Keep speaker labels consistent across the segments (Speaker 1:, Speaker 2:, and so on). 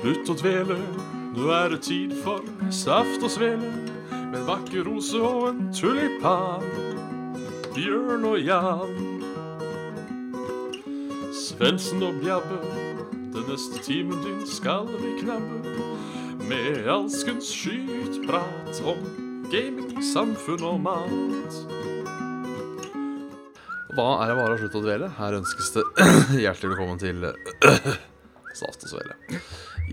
Speaker 1: Slutt å dvele, nå er det tid for saft og svele. Med en vakker rose og en tulipan. Bjørn og Jan. Svendsen og Bjabbe, den neste timen din skal vi knabbe. Med alskens skytprat om gaming, samfunn og mat. Da er det bare å slutte å dvele. Her ønskes det hjertelig velkommen til Saft og svele.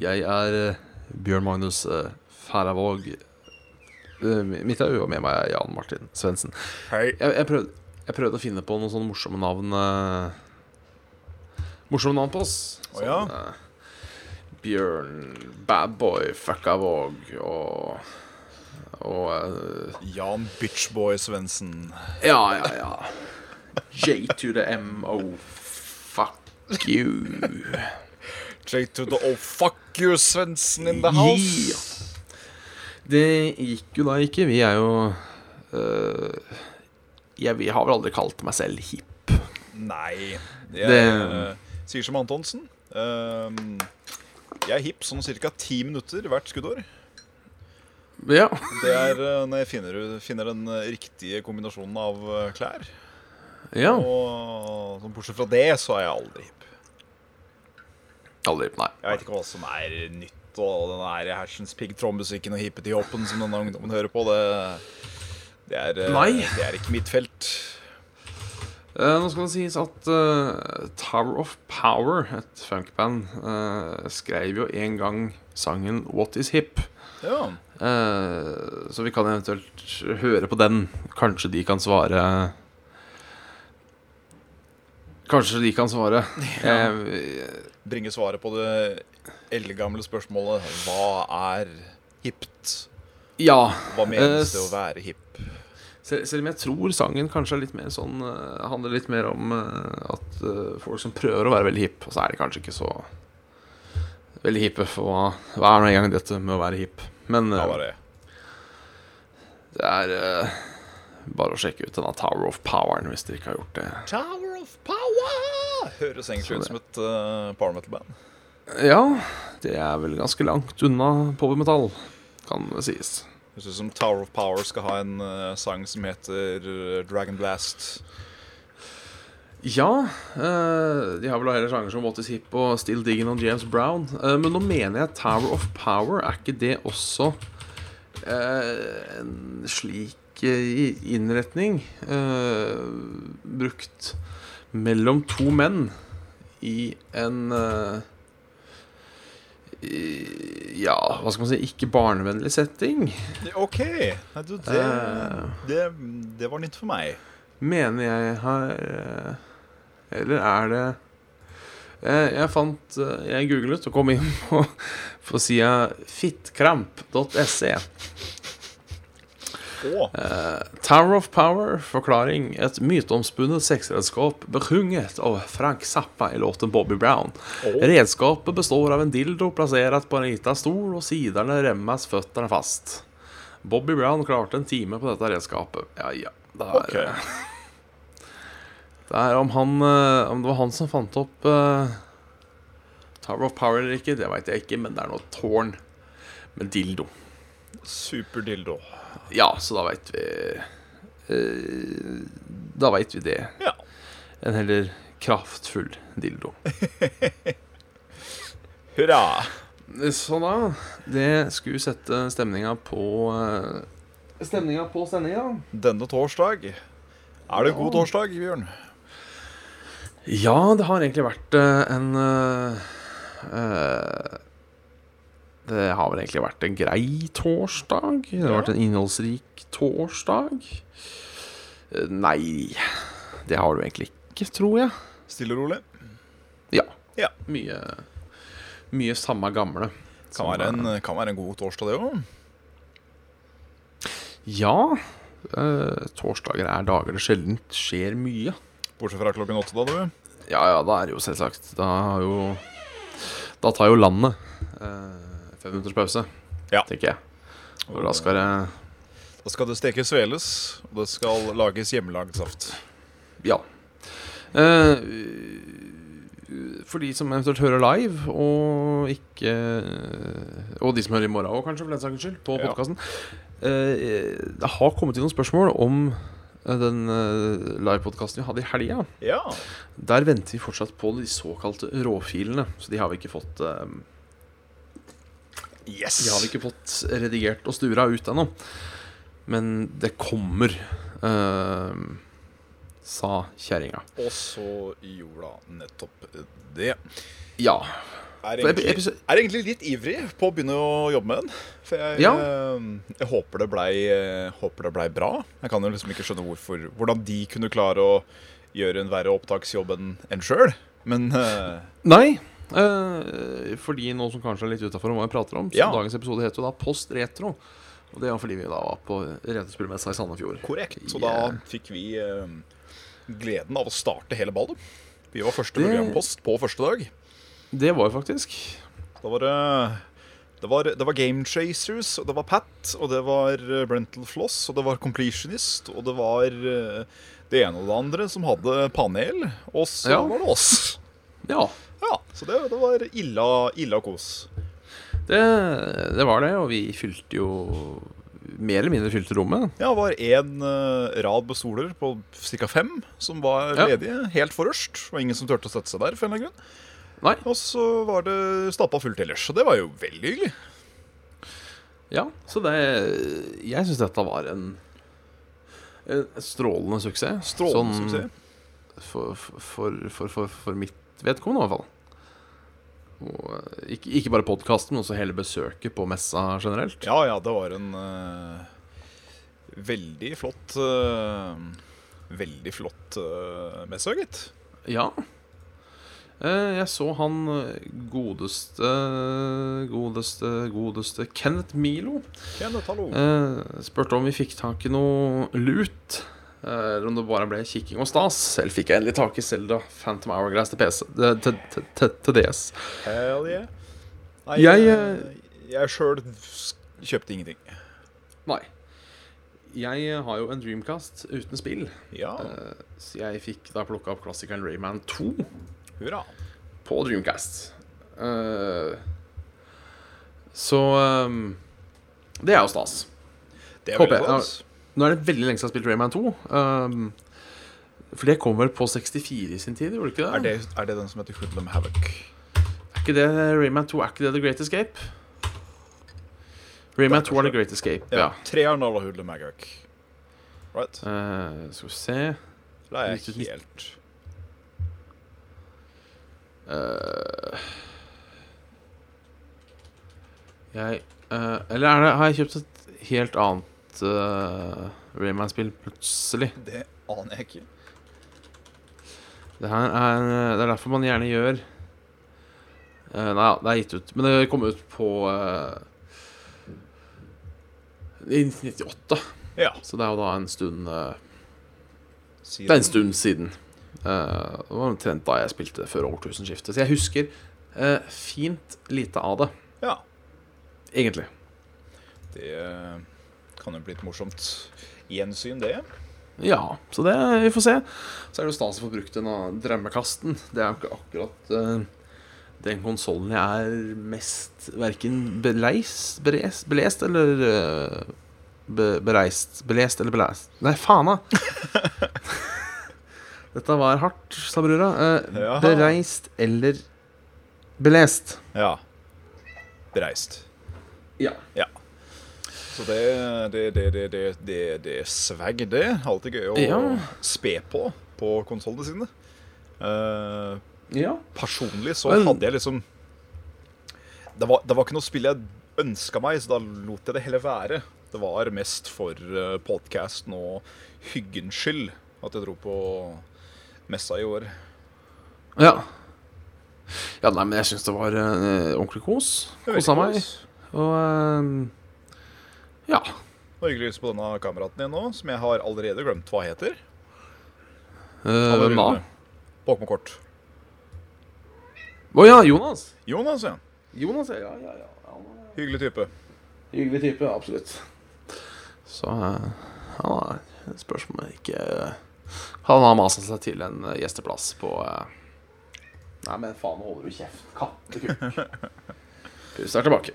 Speaker 1: Jeg er eh, Bjørn Magnus eh, Færavåg. Eh, Mitt er jo med meg er Jan Martin Svendsen.
Speaker 2: Hei.
Speaker 1: Jeg, jeg, prøvde, jeg prøvde å finne på noen sånne morsomme navn eh, Morsomme navn på oss.
Speaker 2: Å ja.
Speaker 1: eh, Bjørn, Badboy, Fuckavåg og Og eh,
Speaker 2: Jan Bitchboy Svendsen.
Speaker 1: Ja, ja, ja. J to the M, oh fuck you.
Speaker 2: Jake to the oh fuck you, Svendsen in the house.
Speaker 1: Det gikk jo da ikke. Vi er jo øh, Jeg vi har vel aldri kalt meg selv hipp.
Speaker 2: Nei. Jeg
Speaker 1: Det-
Speaker 2: eh, sier som Antonsen. Ehm, jeg er hipp sånn ca. ti minutter hvert skuddår.
Speaker 1: Ja.
Speaker 2: Det er eh, når jeg finner, ut- finner den eh, riktige kombinasjonen av eh, klær.
Speaker 1: ja.
Speaker 2: Og sånn bortsett fra det, så er jeg aldri hipp.
Speaker 1: Aldri hipp, nei.
Speaker 2: Jeg vet ikke hva som er nytt, og den der hersens piggtrådmusikken og hippeti-hoppen som denne ungdommen hører på, det, det, er, eh,
Speaker 1: Nei.
Speaker 2: det er ikke mitt felt.
Speaker 1: Eh, nå skal det sies at eh, Tower of Power, et funkband, eh, skrev jo en gang sangen What Is Hip.
Speaker 2: Ja.
Speaker 1: Eh, Så vi kan eventuelt høre på den. Kanskje de kan svare Kanskje de kan svare. Eh,
Speaker 2: Bringe svaret på det eldgamle spørsmålet Hva er hipt?
Speaker 1: ja.
Speaker 2: Hva menes
Speaker 1: Eh,
Speaker 2: det å være hipp?
Speaker 1: Selv, selv om jeg tror sangen kanskje er litt mer sånn eh, handler litt mer om eh, at eh, folk som prøver å være veldig hipp, og så er de kanskje ikke så veldig hippe, for hva, hva er nå engang dette med å være hipp? Men eh,
Speaker 2: Ja, var det.
Speaker 1: det er eh, bare å sjekke ut denne Tower of Poweren hvis dere ikke har gjort det.
Speaker 2: Tower of Power! Høres egentlig
Speaker 1: Sånn,
Speaker 2: ut som et uh, power metal-band.
Speaker 1: Ja, det er vel ganske langt unna powermetall, kan det sies.
Speaker 2: Høres ut som Tower of Power skal ha en eh, sang som heter eh, Dragon Blast.
Speaker 1: Ja, eh, de har vel da heller sanger som What Is Hip og Still Diggin' og James Brown. Eh, men nå mener jeg Tower of Power. Er ikke det også eh, en slik eh, innretning eh, brukt mellom to menn i en eh, i, Ja, hva skal man si Ikke barnevennlig setting.
Speaker 2: OK. Nei, du, det,
Speaker 1: Eh.
Speaker 2: det, det var nytt for meg.
Speaker 1: mener jeg har eh, Eller er det Eh, Jeg fant eh, Jeg googlet og kom inn på, på sida fittkramp.se.
Speaker 2: Å,
Speaker 1: Eh, Tower of Power, forklaring. Et myteomspunnet sexredskap besjunget av Frank Zappa i låten Bobby Brown. Redskapet består av en dildo plassert på en liten stol, og sidene remmes føttene fast. Bobby Brown klarte en time på dette redskapet. Ja, ja. Det er,
Speaker 2: Ok.
Speaker 1: det er om, han, eh, om det var han som fant opp eh, Tower of Power eller ikke, det veit jeg ikke, men det er noe tårn med dildo.
Speaker 2: superdildo.
Speaker 1: Ja, så da veit vi eh, Da veit vi det.
Speaker 2: Ja.
Speaker 1: En heller kraftfull dildo.
Speaker 2: Hurra!
Speaker 1: Så da Det skulle sette stemninga på eh, Stemninga på sendinga.
Speaker 2: Denne torsdag Er det god torsdag, Bjørn?
Speaker 1: Ja, det har egentlig vært eh, en eh, eh, Det har vel egentlig vært en grei torsdag. Det har
Speaker 2: Ja.
Speaker 1: vært en innholdsrik torsdag. Eh, Nei, det har du egentlig ikke, tror jeg.
Speaker 2: Stille og rolig?
Speaker 1: Ja.
Speaker 2: Ja.
Speaker 1: Mye, mye samme gamle.
Speaker 2: Kan
Speaker 1: Som,
Speaker 2: være, en, kan være en god torsdag, det òg.
Speaker 1: Ja. eh, torsdager er dager det sjelden skjer mye.
Speaker 2: Bortsett fra klokken åtte, da, du.
Speaker 1: Ja ja, da er det jo selvsagt. Da har jo Da tar jo landet eh, fem minutters pause,
Speaker 2: Ja.
Speaker 1: tenker jeg. Og da skal det
Speaker 2: Da skal det stekes sveles, og det skal lages hjemmelagd saft.
Speaker 1: Ja. Eh, u- for de som eventuelt hører live, og ikke Og de som hører i morgen òg, kanskje, for den saks skyld, på
Speaker 2: Ja.
Speaker 1: podkasten Det har kommet inn noen spørsmål om eh, den eh, livepodkasten vi hadde i helga.
Speaker 2: Ja.
Speaker 1: Der venter vi fortsatt på de såkalte råfilene, så de har vi ikke fått eh,
Speaker 2: Yes.
Speaker 1: De har vi ikke fått redigert og stura ut ennå. Men det kommer, eh, sa kjerringa.
Speaker 2: Og så gjorde hun nettopp det.
Speaker 1: Ja.
Speaker 2: Er egentlig,
Speaker 1: For epi- episo-
Speaker 2: er egentlig litt ivrig på å begynne å jobbe med den. For jeg,
Speaker 1: Ja.
Speaker 2: eh, jeg håper det blei eh, håper det blei bra. Jeg kan jo liksom ikke skjønne hvorfor, hvordan de kunne klare å gjøre en verre opptaksjobb enn en sjøl. Men eh,
Speaker 1: Nei. eh, fordi noe som kanskje er litt utafor hva vi prater om, så
Speaker 2: Ja.
Speaker 1: dagens episode heter jo da Post Retro. Og det er fordi vi da var på retespillmessa i Sandefjord.
Speaker 2: korrekt. Så
Speaker 1: Yeah.
Speaker 2: da fikk vi eh, gleden av å starte hele ballet. Vi var første
Speaker 1: Det-
Speaker 2: programpost på første dag.
Speaker 1: Det var jo faktisk
Speaker 2: Da var det det var, det var Game Chasers, og det var Pat, og det var eh, Brental Floss, og det var Completionist, og det var eh, det ene og det andre som hadde panel, og så
Speaker 1: Ja.
Speaker 2: var det oss.
Speaker 1: Ja.
Speaker 2: Ja, Så det, det var illa, illa kos.
Speaker 1: Det, det var det, og vi fylte jo Mer eller mindre fylte rommet.
Speaker 2: Ja, det var én eh, rad med stoler på ca. fem som var
Speaker 1: Ja.
Speaker 2: ledige, helt forrest. Og ingen som turte å sette seg der, for en eller annen grunn.
Speaker 1: Nei.
Speaker 2: Og så var det stappa fullt ellers, og det var jo veldig hyggelig.
Speaker 1: Ja, så det Jeg syns dette var en, en strålende suksess.
Speaker 2: Strålende
Speaker 1: Sånn
Speaker 2: suksess.
Speaker 1: For, for, for, for, for mitt vedkommende, i hvert fall. Og, eh, ikke, ikke bare podkasten, men også hele besøket på messa generelt.
Speaker 2: Ja, ja, det var en eh, veldig flott eh, Veldig flott uh, messe, gitt.
Speaker 1: Ja. Eh, Jeg så han eh, godeste Godeste, godeste Kenneth Milo.
Speaker 2: Kenneth, hallo.
Speaker 1: Eh, Spurte om vi fikk tak i noe lut. eh, Eller om det bare ble kikking og stas. Selv fikk jeg endelig tak i Selda Phantom Hourglass til PC eh, til, til, til, til DS.
Speaker 2: Hell yeah. Nei,
Speaker 1: Jeg,
Speaker 2: eh, jeg sjøl kjøpte ingenting.
Speaker 1: Nei. Jeg har jo en Dreamcast uten spill,
Speaker 2: Ja,
Speaker 1: eh, så jeg fikk da plukka opp klassikeren Rayman 2
Speaker 2: hurra.
Speaker 1: på Dreamcast. Eh, Så eh, det er jo stas.
Speaker 2: Det er
Speaker 1: Håper
Speaker 2: veldig
Speaker 1: jeg-
Speaker 2: stas.
Speaker 1: Nå er det veldig lenge siden jeg har spilt Rayman 2. ehm, for det kom vel på 64 i sin tid, gjorde det ikke det?
Speaker 2: Er, det- er det den som heter Hoodlum Havoc?
Speaker 1: Er ikke det Rayman 2? Er ikke det The Great Escape? Rayman
Speaker 2: Det er
Speaker 1: 2 er
Speaker 2: kanskje-
Speaker 1: The Great Escape, ja.
Speaker 2: Ja. Treeren av Hoodlum Havoc. Right?
Speaker 1: Eh, skal vi se
Speaker 2: Det er
Speaker 1: Riktig.
Speaker 2: jeg helt
Speaker 1: Eh, Jeg eh, Eller er det, har jeg kjøpt et helt annet eh, Rayman-spill plutselig?
Speaker 2: Det aner jeg ikke.
Speaker 1: Det her er Det er derfor man gjerne gjør Eh, Nei, det er gitt ut. Men det kom ut på eh, I 1998,
Speaker 2: Ja.
Speaker 1: så det er jo da en stund eh,
Speaker 2: si
Speaker 1: Det er en
Speaker 2: det.
Speaker 1: stund siden. Eh, det var omtrent da jeg spilte før årtusenskiftet. Så jeg husker eh, fint lite av det,
Speaker 2: Ja.
Speaker 1: egentlig.
Speaker 2: Det eh, kan jo bli et morsomt gjensyn, det.
Speaker 1: Ja, så det Vi får se. Så er det jo stas å få brukt denne drømmekasten. Det er jo ikke akkurat eh, den konsollen jeg er mest verken beleist, berest, belest eller eh, be, bereist Belest eller beleist Nei, faen, da! Dette var hardt, sa brura. Eh,
Speaker 2: Jaha.
Speaker 1: bereist eller belest.
Speaker 2: Ja. Bereist.
Speaker 1: Ja.
Speaker 2: Så det Det, det, det, det, det, det er svegg, det. Alltid gøy å
Speaker 1: Ja.
Speaker 2: spe på på konsollene sine. Eh,
Speaker 1: Ja.
Speaker 2: personlig så
Speaker 1: Men-
Speaker 2: hadde jeg liksom det var, det var ikke noe spill jeg ønska meg, så da lot jeg det heller være. Det var mest for eh, podcasten og hyggens skyld at jeg dro på messa i år.
Speaker 1: Ja, ja nei, men jeg syns det var eh, ordentlig kos.
Speaker 2: Det var
Speaker 1: Kosa
Speaker 2: veldig
Speaker 1: meg.
Speaker 2: kos.
Speaker 1: Og eh, ja.
Speaker 2: Nå har jeg lyst på denne kameraten din nå, som jeg har allerede glemt hva heter.
Speaker 1: eh, Hvem da?
Speaker 2: Pokémon-kort.
Speaker 1: Å ja, Jonas.
Speaker 2: Jonas, ja.
Speaker 1: Jonas, ja. ja, ja, ja. Han er
Speaker 2: Hyggelig type.
Speaker 1: en Hyggelig type, absolutt. Så eh, han har et spørsmål ikke Han har masa seg til en eh, gjesteplass på eh, Nei, men faen, nå holder du kjeft. Kattekukk. Pus er tilbake.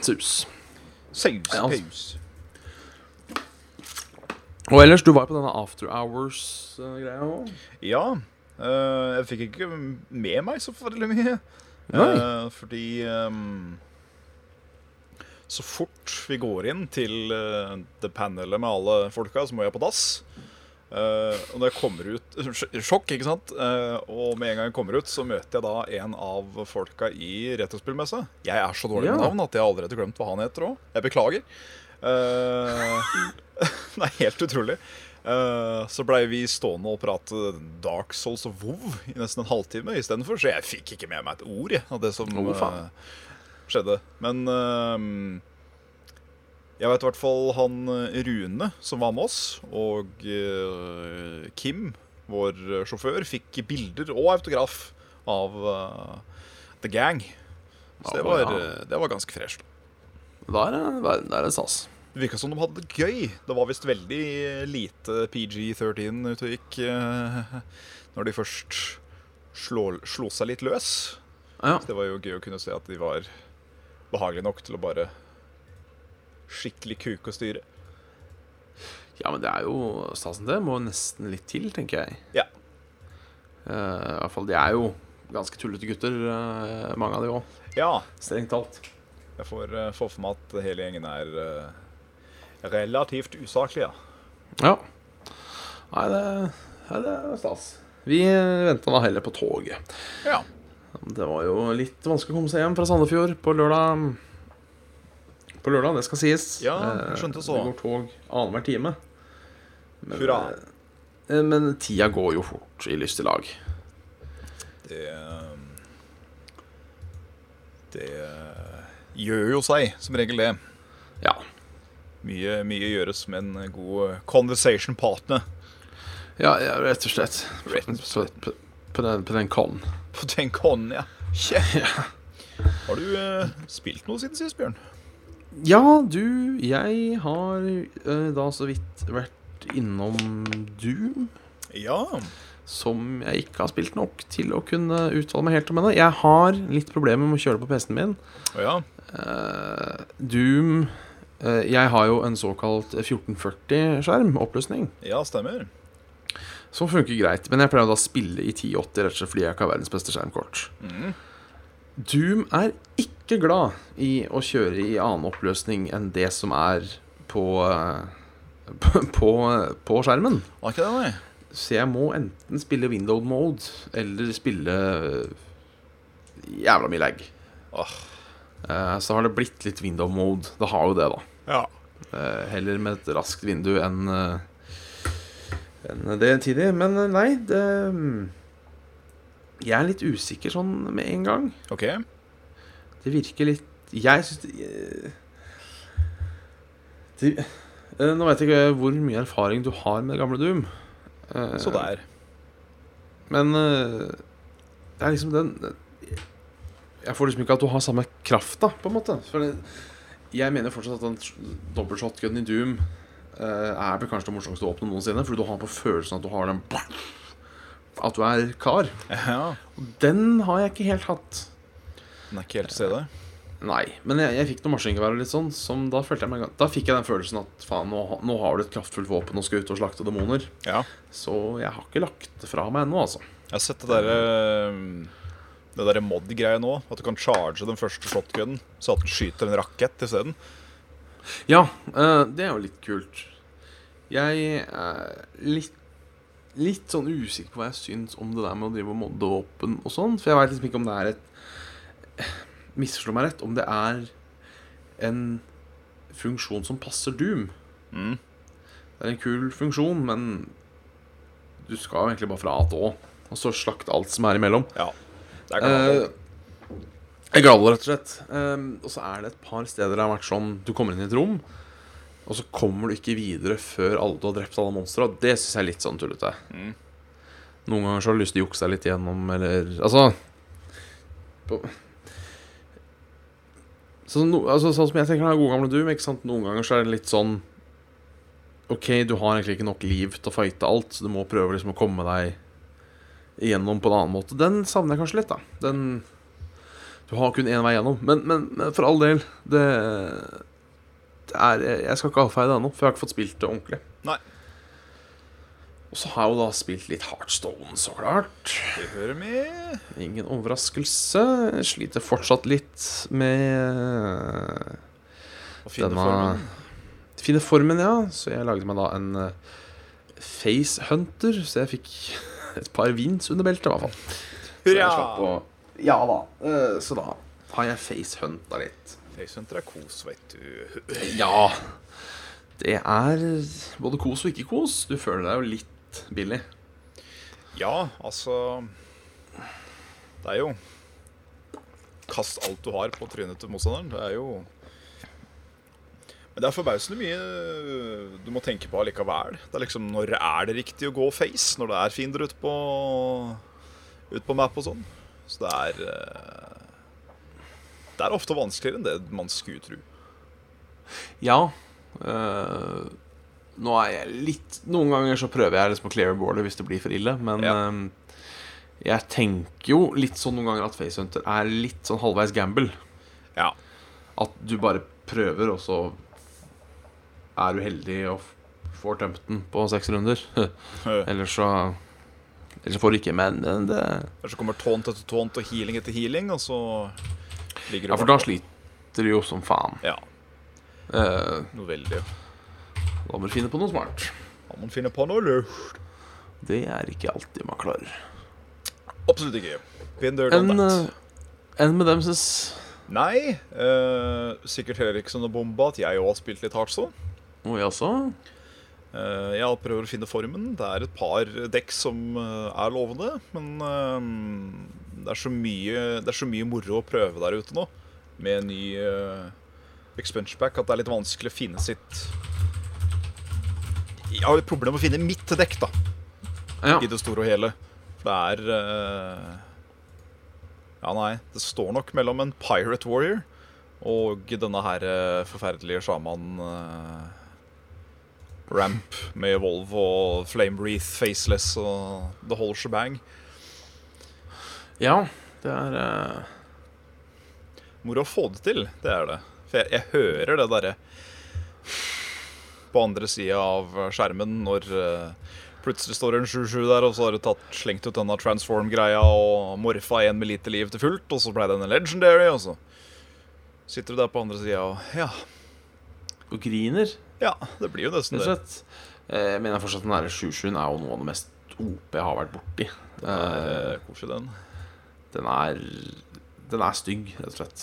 Speaker 1: Sus.
Speaker 2: Saus,
Speaker 1: Ja, altså.
Speaker 2: paus.
Speaker 1: Og ellers, du var på denne after hours-greia òg?
Speaker 2: Ja. eh, jeg fikk ikke med meg så forferdelig mye.
Speaker 1: Nei.
Speaker 2: Eh, fordi ehm, så fort vi går inn til eh, det panelet med alle folka, så må jeg på dass. Eh, og når jeg kommer ut sj- Sjokk, ikke sant? Eh, og med en gang jeg kommer ut, så møter jeg da en av folka i retrospillmessa. Jeg er så dårlig
Speaker 1: Ja.
Speaker 2: med navn at jeg har allerede glemt hva han heter òg. Jeg beklager. Eh, det er helt utrolig. Eh, så blei vi stående og prate Dark Souls og WoW i nesten en halvtime istedenfor, så jeg fikk ikke med meg et ord jeg, av det som
Speaker 1: Å, faen.
Speaker 2: eh, skjedde. Men eh, jeg vet i hvert fall han eh, Rune, som var med oss, og eh, Kim, vår eh, sjåfør, fikk bilder og autograf av eh, The Gang. Så det
Speaker 1: Ja,
Speaker 2: var,
Speaker 1: ja.
Speaker 2: eh, det var ganske fresh.
Speaker 1: Der er der- der er det stas.
Speaker 2: Det virka som de hadde det gøy. Det var visst veldig lite PG-13 ute og gikk eh, når de først slo, slo seg litt løs.
Speaker 1: Ja.
Speaker 2: Så det var jo gøy å kunne se at de var behagelige nok til å bare skikkelig kuke og styre.
Speaker 1: ja, men det er jo stasen, det. Må nesten litt til, tenker jeg.
Speaker 2: Ja.
Speaker 1: Eh, I hvert fall, de er jo ganske tullete gutter, eh, mange av de òg.
Speaker 2: Ja,
Speaker 1: Strengt talt.
Speaker 2: jeg får eh, få for meg at hele gjengen er eh, relativt usaklig, ja.
Speaker 1: Ja. Nei, det, nei, det er stas. Vi venta da heller på toget.
Speaker 2: ja.
Speaker 1: Det var jo litt vanskelig å komme seg hjem fra Sandefjord på lørdag. På lørdag, det skal sies.
Speaker 2: Ja, jeg skjønte
Speaker 1: Eh,
Speaker 2: så.
Speaker 1: Det går tog annenhver time. Men,
Speaker 2: Hurra.
Speaker 1: eh, Men tida går jo fort i lystig lag.
Speaker 2: Det eh, Det eh, gjør jo seg som regel det.
Speaker 1: Ja.
Speaker 2: Mye, mye gjøres med en god eh, conversation partner.
Speaker 1: Ja, ja rett og slett.
Speaker 2: Rett og
Speaker 1: På, på, på, den, på den con.
Speaker 2: På den con, ja. Kje. Har du eh, spilt noe siden sist, Bjørn?
Speaker 1: Ja, du, jeg har eh, da så vidt vært innom Doom.
Speaker 2: Ja.
Speaker 1: Som jeg ikke har spilt nok til å kunne uttale meg helt om ennå. Jeg har litt problemer med å kjøre det på PC-en min.
Speaker 2: Å ja.
Speaker 1: Eh, Doom eh, Jeg har jo en såkalt 1440-skjerm, oppløsning,
Speaker 2: Ja, stemmer.
Speaker 1: som funker greit. Men jeg pleier da å spille i 1080 rett og slett fordi jeg ikke har verdens beste skjermkort.
Speaker 2: Mm.
Speaker 1: Doom er ikke glad i å kjøre i annen oppløsning enn det som er på eh, på, på, på skjermen.
Speaker 2: Var ikke det, nei?
Speaker 1: Så jeg må enten spille window mode eller spille eh, jævla mye lag.
Speaker 2: Åh.
Speaker 1: Eh, Så har det blitt litt window mode. Det har jo det, da.
Speaker 2: Ja.
Speaker 1: Eh, Heller med et raskt vindu enn eh, enn det tidlig. Men eh, nei, det mm, Jeg er litt usikker sånn med en gang.
Speaker 2: OK.
Speaker 1: Det virker litt Jeg syns det, eh, det eh, Nå vet jeg ikke hvor mye erfaring du har med det gamle Doom. Eh,
Speaker 2: Så der.
Speaker 1: Men eh, det er liksom den Jeg får liksom ikke at du har samme kraft, da, på en måte. For det, jeg mener fortsatt at den dobbeltshotgunen i Doom eh, er vel kanskje det morsomste våpenet noensinne, fordi du har på følelsen at du har den At du er kar.
Speaker 2: Ja.
Speaker 1: Den har jeg ikke helt hatt.
Speaker 2: Den er ikke helt til stede.
Speaker 1: Nei, men jeg, jeg fikk noe maskingevær og litt sånn, som da følte jeg meg ga- Da fikk jeg den følelsen at faen, nå, ha- nå har du et kraftfullt våpen og skal ut og slakte demoner.
Speaker 2: Ja.
Speaker 1: Så jeg har ikke lagt det fra meg ennå, altså.
Speaker 2: Jeg har sett det derre Det derre mod-greia nå. At du kan charge den første shotgunen, så at den skyter en rakett isteden.
Speaker 1: Ja, eh, det er jo litt kult. Jeg er litt, litt sånn usikker på hva jeg syns om det der med å drive og modde våpen og sånn, for jeg veit liksom ikke om det er et Misforstå meg rett, om det er en funksjon som passer Doom.
Speaker 2: Mm.
Speaker 1: Det er en kul funksjon, men du skal jo egentlig bare fra A til Å, og så slakte alt som er imellom.
Speaker 2: Ja. Det er
Speaker 1: Eh,
Speaker 2: gammelt.
Speaker 1: Jeg galler, rett og slett. Ehm, og så er det et par steder det har vært sånn Du kommer inn i et rom, og så kommer du ikke videre før alle, du har drept alle monstera. Det syns jeg er litt sånn tullete.
Speaker 2: Mm.
Speaker 1: Noen ganger så har du lyst til å jukse deg litt gjennom, eller Altså på, så no, altså Sånn som jeg tenker den gode gamle Doom, ikke sant? noen ganger så er det litt sånn OK, du har egentlig ikke nok liv til å fighte alt, så du må prøve liksom å komme deg gjennom på en annen måte. Den savner jeg kanskje litt, da. Den Du har kun én vei gjennom. Men, men, men for all del, det, det er Jeg skal ikke avfeie det ennå, for jeg har ikke fått spilt det ordentlig.
Speaker 2: Nei.
Speaker 1: Og så har jeg jo da spilt litt Heartstone, så klart.
Speaker 2: Det hører med.
Speaker 1: Ingen overraskelse. Jeg sliter fortsatt litt med
Speaker 2: Å finne
Speaker 1: Denne-
Speaker 2: formen.
Speaker 1: finne formen, ja. Så jeg lagde meg da en eh, face hunter, så jeg fikk et par vins under beltet, i hvert fall. Så jeg slapp
Speaker 2: Hurra!
Speaker 1: å Ja da. eh, Så da har jeg face hunta litt.
Speaker 2: Facehunter er kos, vet du.
Speaker 1: Ja. Det er både kos og ikke kos. Du føler deg jo litt billig.
Speaker 2: Ja, altså Det er jo Kast alt du har på trynet til motstanderen. Det er jo Men det er forbausende mye øh, du må tenke på allikevel. Det er liksom, Når er det riktig å gå face? Når det er fiender ute på, ut på map og sånn. Så det er eh, Det er ofte vanskeligere enn det man skulle tro.
Speaker 1: Ja. øh, nå er jeg litt Noen ganger så prøver jeg liksom å clear bordet hvis det blir for ille, men
Speaker 2: Ja.
Speaker 1: øhm, jeg tenker jo litt sånn noen ganger at facehunter er litt sånn halvveis gamble.
Speaker 2: Ja.
Speaker 1: At du bare prøver, og så er du heldig og f- får tømt den på seks runder.
Speaker 2: Eller
Speaker 1: Eller så Eller så får du ikke, men men det
Speaker 2: så kommer taunt etter taunt og healing etter healing, og så ligger du
Speaker 1: Ja, for da sliter du jo som faen.
Speaker 2: Ja,
Speaker 1: Eh,
Speaker 2: noe veldig.
Speaker 1: da må du finne på noe smart.
Speaker 2: Må man finne på noe lurt?
Speaker 1: Det er ikke alltid man klarer.
Speaker 2: Absolutt ikke. Been there, done
Speaker 1: Enn
Speaker 2: that.
Speaker 1: eh, en med dem syns
Speaker 2: Nei. eh, sikkert heller ikke som noe bombe at jeg òg har spilt litt Heartstone.
Speaker 1: Må jeg også?
Speaker 2: Eh, jeg prøver å finne formen. Det er et par dekk som eh, er lovende, men eh, det, er så mye, det er så mye moro å prøve der ute nå, med ny uh, expansion pack, at det er litt vanskelig å finne sitt Jeg har litt problemer med å finne mitt dekk, da.
Speaker 1: Ja.
Speaker 2: i det store og hele. For det er eh, Ja, nei. Det står nok mellom en Pirate Warrior og denne her eh, forferdelige sjaman eh, Ramp med Evolve og Flame Wreath, Faceless og The Whole Shebang.
Speaker 1: ja. Det er eh,
Speaker 2: Moro å få det til, det er det. For jeg, jeg hører det derre på andre sida av skjermen når eh, plutselig står det en 7-7 der, og så har du tatt, slengt ut denne transform-greia og morfa en med lite liv til fullt, og så ble den en legendary, og så sitter du der på andre sida og ja,
Speaker 1: Og griner,
Speaker 2: ja, det blir jo nesten
Speaker 1: rett og
Speaker 2: det.
Speaker 1: slett. Eh, Jeg mener fortsatt den derre 77-en er jo noe av det mest OP jeg har vært borti. Eh,
Speaker 2: Eh, Koselig, den.
Speaker 1: Den er Den er stygg, rett og slett.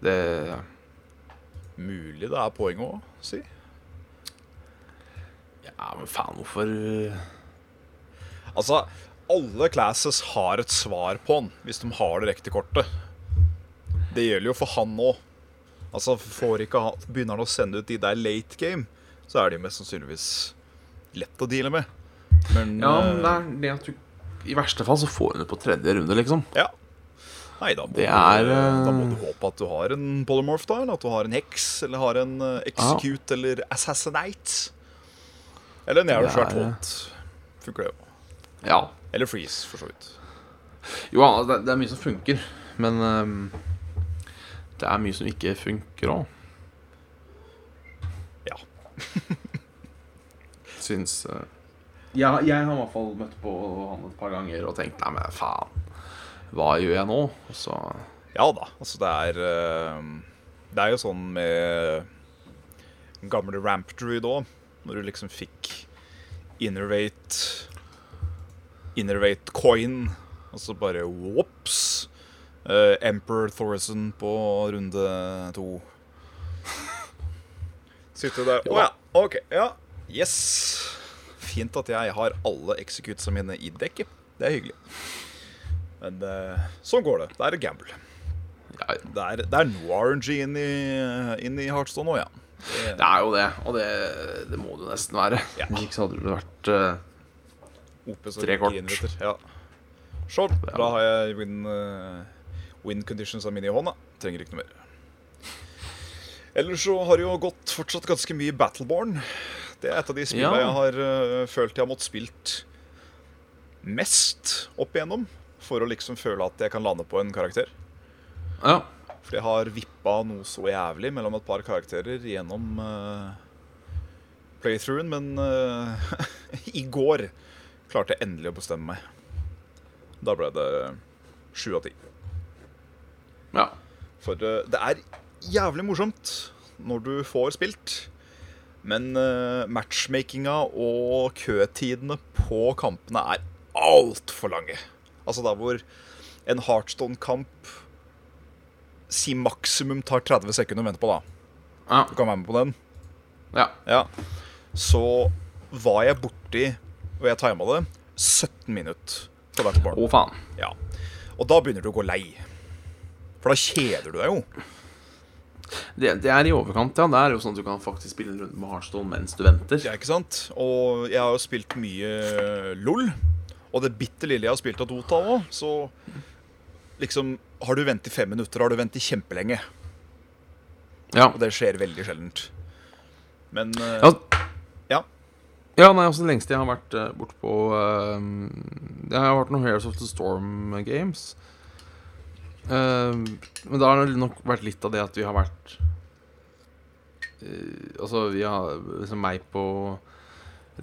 Speaker 1: Det
Speaker 2: Mulig det er poenget òg, si.
Speaker 1: Ja, men faen, hvorfor eh,
Speaker 2: Altså, alle classes har et svar på han hvis de har det riktige kortet. Det gjelder jo for han òg. Altså, får ikke han, begynner han å sende ut de der late game, så er de mest sannsynligvis lett å deale med. Men eh,
Speaker 1: Ja, men det er det at du I verste fall så får hun det på tredje runde, liksom.
Speaker 2: eh, ja. Nei, da må,
Speaker 1: Det er,
Speaker 2: du,
Speaker 1: eh,
Speaker 2: da må du håpe at du har en polymorph, da. Eller at du har en heks, eller har en eh, execute, eller assassinate. Eller en jævlig
Speaker 1: Det
Speaker 2: svært
Speaker 1: er, eh,
Speaker 2: hot. Funker det jo.
Speaker 1: Ja.
Speaker 2: Eller freeze, for så vidt.
Speaker 1: Jo, ja, det det er mye som funker, men eh, det er mye som ikke funker òg.
Speaker 2: Ja.
Speaker 1: Syns eh, ja, Jeg har i hvert fall møtt på han et par ganger og tenkt Nei, men faen, hva gjør jeg nå? Og så
Speaker 2: Ja da, altså det er eh, Det er jo sånn med gamle Ramp Druid òg, når du liksom fikk Innervate Innervate coin, og så bare whoops. eh, Emperor Thorson på runde to. Sitter du der Å ja, OK. Ja. Yes. Fint at jeg har alle executesa mine i dekket. Det er hyggelig. Men eh, sånn går det. Det er et gamble.
Speaker 1: ja,
Speaker 2: Det er, det er noe RNG inn i, inn i Hearthstone nå, ja.
Speaker 1: Det er jo det, og det, det må det jo nesten være.
Speaker 2: Ja.
Speaker 1: Hvis ikke så hadde det vært eh,
Speaker 2: OP som
Speaker 1: Tre kort.
Speaker 2: generator, Ja. Short. Da har jeg win, eh, win conditions av mine i hånda. Trenger ikke noe mer. Ellers så har det jo gått fortsatt ganske mye Battleborn. Det er et av de spillene
Speaker 1: Ja.
Speaker 2: jeg har eh, følt jeg har måttet spilt mest opp igjennom for å liksom føle at jeg kan lande på en karakter.
Speaker 1: Ja.
Speaker 2: For jeg har vippa noe så jævlig mellom et par karakterer gjennom eh, playthroughen, men eh, i går klarte jeg endelig å bestemme meg. Da ble det sju av ti.
Speaker 1: ja.
Speaker 2: For eh, det er jævlig morsomt når du får spilt. Men eh, matchmakinga og køtidene på kampene er altfor lange. Altså der hvor en Heartstone-kamp si maksimum tar 30 sekunder å vente på, da.
Speaker 1: Ja.
Speaker 2: Du kan være med på den.
Speaker 1: ja.
Speaker 2: Ja. Så var jeg borti, og jeg tima det, 17 minutter på hvert barn.
Speaker 1: Å, faen.
Speaker 2: Ja. Og da begynner du å gå lei. For da kjeder du deg jo.
Speaker 1: Det, det er i overkant, ja. Det er jo sånn at du kan faktisk spille en runde med Hearthstone mens du venter.
Speaker 2: Ja, ikke sant? Og jeg har jo spilt mye eh, LOL. Og det bitte lille jeg har spilt av Dota òg, så liksom Har du ventet fem minutter, har du ventet kjempelenge.
Speaker 1: Ja.
Speaker 2: Og det skjer veldig sjeldent. Men eh,
Speaker 1: Ja.
Speaker 2: Ja.
Speaker 1: Ja, nei, altså Det lengste jeg har vært uh, borte på eh, Det har vært noen Heroes of the Storm Games. Eh, men da har det nok vært litt av det at vi har vært eh, Altså, vi har liksom meg på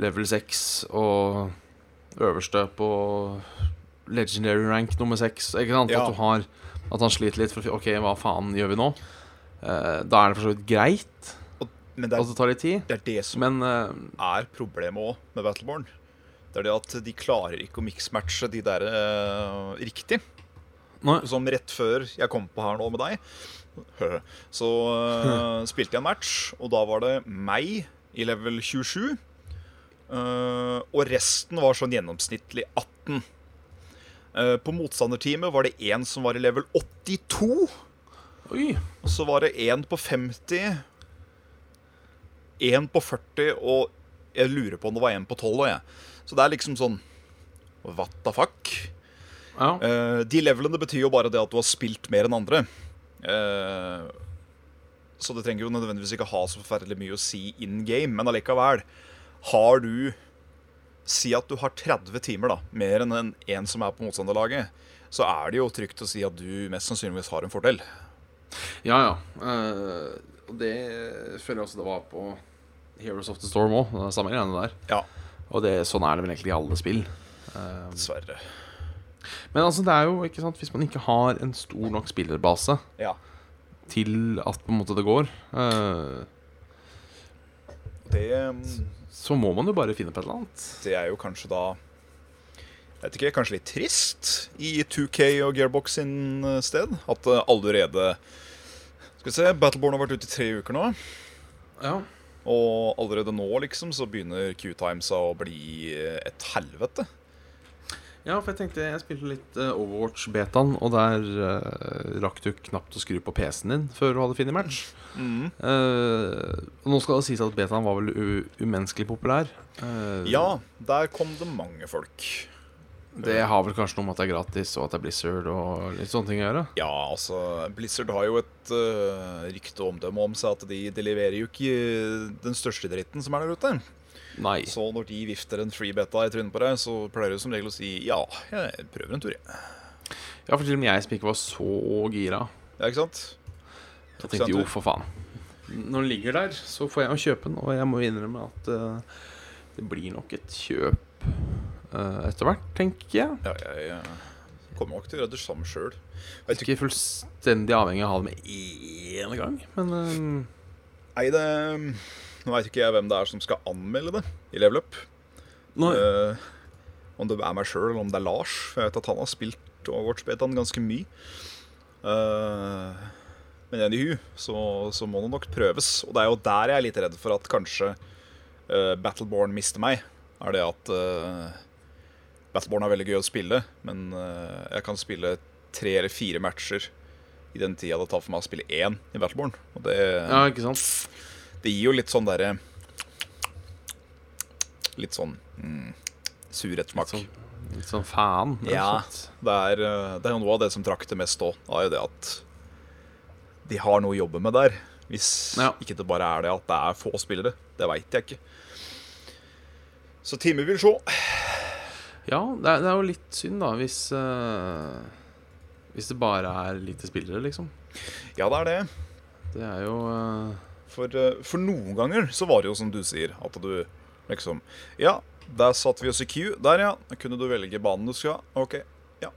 Speaker 1: level 6 og øverste på legendary rank nummer 6. Ikke sant?
Speaker 2: Ja.
Speaker 1: At du har At han sliter litt for å fi- OK, hva faen gjør vi nå? Eh, da er det for så vidt greit
Speaker 2: men det,
Speaker 1: at
Speaker 2: er,
Speaker 1: det tar litt tid,
Speaker 2: det er det som
Speaker 1: men eh,
Speaker 2: er problemet òg med Battleborn. Det er det at de klarer ikke å mixmatche de der eh, riktig.
Speaker 1: Nei.
Speaker 2: Som Sånn rett før jeg kom på her nå med deg, så eh, spilte jeg en match, og da var det meg i level 27. eh, og resten var sånn gjennomsnittlig 18. Eh, på motstanderteamet var det én som var i level 82.
Speaker 1: Oi.
Speaker 2: Og så var det en på 50, en på 40, og jeg lurer på om det var en på 12 også, jeg. Så det er liksom sånn What the fuck?
Speaker 1: Ja.
Speaker 2: Eh, de levelene betyr jo bare det at du har spilt mer enn andre. Eh, så det trenger jo nødvendigvis ikke ha så forferdelig mye å si in game, men allikevel. Har du Si at du har 30 timer, da, mer enn en, en som er på motstanderlaget, så er det jo trygt å si at du mest sannsynligvis har en fordel.
Speaker 1: ja, ja. Eh, og det føler jeg også det var på Heroes of the Storm òg. Samme greiene der.
Speaker 2: Ja,
Speaker 1: Og det, sånn er det vel egentlig i alle spill. Eh,
Speaker 2: dessverre.
Speaker 1: men altså, det er jo ikke sant hvis man ikke har en stor nok spillerbase
Speaker 2: Ja.
Speaker 1: til at på en måte det går, eh,
Speaker 2: Det, um,
Speaker 1: så må man jo bare finne på et eller annet.
Speaker 2: det er jo kanskje da jeg vet ikke, Kanskje litt trist i 2K og Gearbox sin eh, sted? At eh, allerede Skal vi se, Battleborn har vært ute i tre uker nå.
Speaker 1: Ja.
Speaker 2: Og allerede nå liksom, så begynner Q-timesa å bli eh, et helvete.
Speaker 1: ja, for jeg tenkte Jeg spilte litt eh, Overwatch-betaen, og der eh, rakk du knapt å skru på PC-en din før du hadde funnet match. Eh, og nå skal det sies at betaen var vel u umenneskelig populær. Eh,
Speaker 2: Ja, der kom det mange folk.
Speaker 1: Det har vel kanskje noe med at det er gratis, og at det er Blizzard og litt sånne ting å gjøre.
Speaker 2: Ja, altså Blizzard har jo et eh, rykte og omdømme om seg at de, de leverer jo ikke eh, den største dritten som er der ute.
Speaker 1: Nei.
Speaker 2: Så når de vifter en free beta i trynet på deg, så pleier du som regel å si ja, jeg prøver en tur, jeg.
Speaker 1: Ja, for til og med jeg som ikke var så gira,
Speaker 2: Ja, ikke sant?
Speaker 1: jeg tenkte jo, for faen. Når den ligger der, så får jeg jo kjøpe den, og jeg må innrømme at eh, det blir nok et kjøp eh, etter hvert, tenker jeg.
Speaker 2: Ja, jeg, jeg kommer nok til å gjøre det samme sjøl.
Speaker 1: Jeg er ikke fullstendig avhengig av å ha det med én gang, men eh,
Speaker 2: Nei, det mm, Nå veit ikke jeg hvem det er som skal anmelde det i Level Up.
Speaker 1: nå,
Speaker 2: Eh, om det er meg sjøl, eller om det er Lars. For jeg vet at han har spilt Overwatch-betaen ganske mye. Eh, men anywho, så, så må det nok prøves. Og det er jo der jeg er litt redd for at kanskje eh, Battleborn mister meg. Er det at eh, Battleborn er veldig gøy å spille, men eh, jeg kan spille tre eller fire matcher i den tida det tar for meg å spille én i Battleborn. Og det,
Speaker 1: ja, ikke sant?
Speaker 2: det gir jo litt sånn derre Litt sånn mm, surhetssmak.
Speaker 1: Litt sånn- Litt sånn faen. rett og
Speaker 2: Ja.
Speaker 1: slett.
Speaker 2: Det, er, eh, det er jo noe av det som trakk det mest òg, er jo det at de har noe å jobbe med der. Hvis
Speaker 1: Ja.
Speaker 2: ikke det bare er det at det er få spillere. Det veit jeg ikke. Så timer vil sjå.
Speaker 1: Ja, det er, det er jo litt synd, da, hvis eh, Hvis det bare er lite spillere, liksom.
Speaker 2: Ja, det er det.
Speaker 1: Det er jo eh,
Speaker 2: For, eh, for noen ganger så var det jo som du sier, at du liksom Ja, der satt vi oss i queue. Der, ja. Da kunne du velge banen du skal ha. OK. Ja.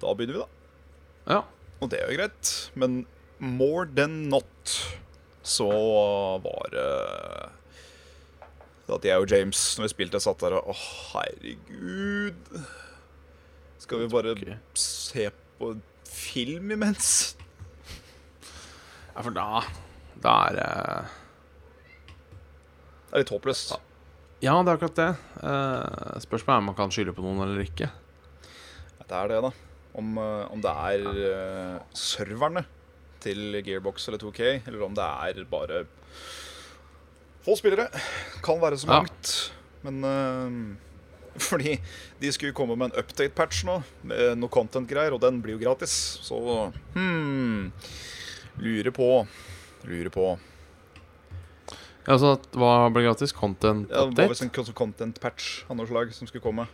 Speaker 2: Da begynner vi, da.
Speaker 1: Ja.
Speaker 2: Og det er jo greit. Men more than not så var det at jeg og James, når vi spilte, satt der og Å, herregud. Skal vi bare
Speaker 1: Ok.
Speaker 2: se på film imens?
Speaker 1: ja, for da Da er det
Speaker 2: Det er litt håpløst.
Speaker 1: Ja, det er akkurat det. Eh, spørs meg om man kan skylde på noen eller ikke.
Speaker 2: Det er det, da. Om, eh, om det er eh, serverne til Gearbox eller 2K, eller om det er bare få spillere. Kan være så
Speaker 1: Ja.
Speaker 2: mangt. Men eh, fordi de skulle komme med en update-patch nå, med noe content-greier, og den blir jo gratis. Så hmm Lurer på. Lurer på.
Speaker 1: Ja, så at, Altså, Hva ble gratis? Content
Speaker 2: Ja, sånn det var visst
Speaker 1: update?
Speaker 2: en content-patch av noe slag som skulle komme.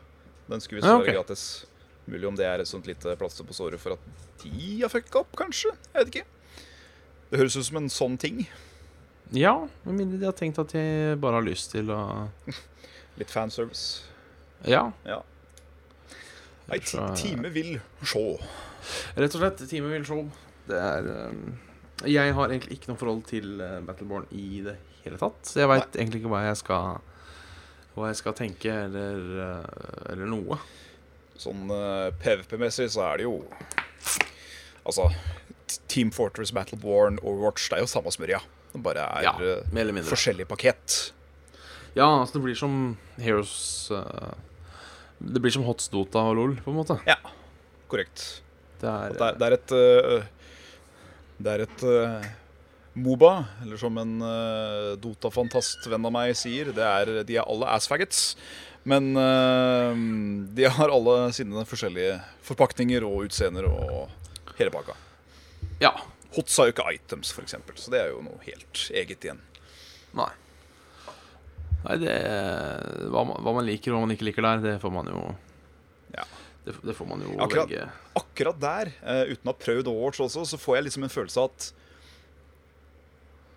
Speaker 2: Den skulle visst
Speaker 1: Ja, ok.
Speaker 2: være gratis. Mulig om det er et sånt lite plaster på såret for at de har fucka opp, kanskje? Jeg vet ikke. Det høres ut som en sånn ting.
Speaker 1: Ja, med mindre de har tenkt at de bare har lyst til å
Speaker 2: Litt fanservice.
Speaker 1: Ja.
Speaker 2: Ja. Ei ti-
Speaker 1: Så-
Speaker 2: time vil sjå.
Speaker 1: Rett og slett, Time Will Show. Det er eh, Jeg har egentlig ikke noe forhold til eh, Battleborn i det hele tatt. Så jeg veit egentlig ikke hva jeg skal Hva jeg skal tenke, eller, eh, eller noe.
Speaker 2: Sånn eh, PVP-messig så er det jo Altså, t- Team Fortress, Battleborn, Overwatch, det er jo samme smørja. Det bare er
Speaker 1: Ja,
Speaker 2: eh,
Speaker 1: mer eller mindre.
Speaker 2: forskjellig pakett.
Speaker 1: Ja, altså det blir som Heroes eh, Det blir som Hots Dota og LOL, på en måte.
Speaker 2: Ja, korrekt.
Speaker 1: Det er,
Speaker 2: Det er, det er et øh, Det er et øh, Moba, eller som en øh, Dota-fantast venn av meg sier, det er, de er alle assfaggots. Men øh, de har alle sine forskjellige forpakninger og utseender og hele pakka.
Speaker 1: eh, Ja.
Speaker 2: Hots har jo ikke items, f.eks., så det er jo noe helt eget igjen.
Speaker 1: Nei. Nei, det er- hva, man- hva man liker og hva man ikke liker der, det får man jo
Speaker 2: Ja.
Speaker 1: Det, det får man jo
Speaker 2: Akkurat.
Speaker 1: velge.
Speaker 2: Akkurat der, eh, uten å ha prøvd Overwatch også, så får jeg liksom en følelse av at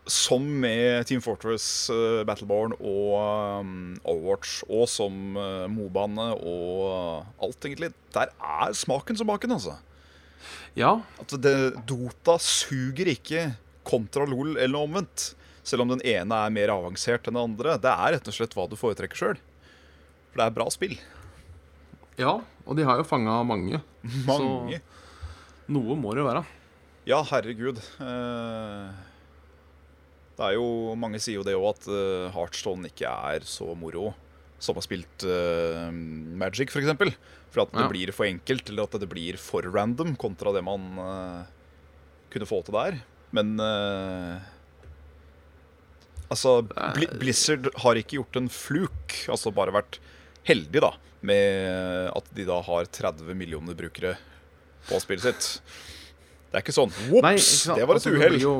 Speaker 2: som med Team Fortress, eh, Battleborn og eh, Overwatch, og som eh, Mobane og eh, alt, egentlig, der er smaken som baken, altså.
Speaker 1: Ja.
Speaker 2: At det, Dota suger ikke kontra LOL eller omvendt. Selv om den ene er mer avansert enn den andre. Det er rett og slett hva du foretrekker sjøl. For det er bra spill.
Speaker 1: ja. Og de har jo fanga mange.
Speaker 2: Mange.
Speaker 1: Noe må det jo være.
Speaker 2: Ja, herregud. Eh, Det er jo, Mange sier jo det òg, at eh, Hearthstone ikke er så moro som har spilt eh, Magic, f.eks. For, eksempel. for at det
Speaker 1: Ja.
Speaker 2: blir for enkelt, eller at det blir for random kontra det man eh, kunne få til der. Men eh, Altså, Bli
Speaker 1: Eh.
Speaker 2: Blizzard har ikke gjort en fluk. Altså bare vært heldig, da, med at de da har 30 millioner brukere på spillet sitt. Det er ikke sånn
Speaker 1: Nei,
Speaker 2: Ops!
Speaker 1: ikke sant?
Speaker 2: Det var et
Speaker 1: Altså, det
Speaker 2: uhell.
Speaker 1: blir jo,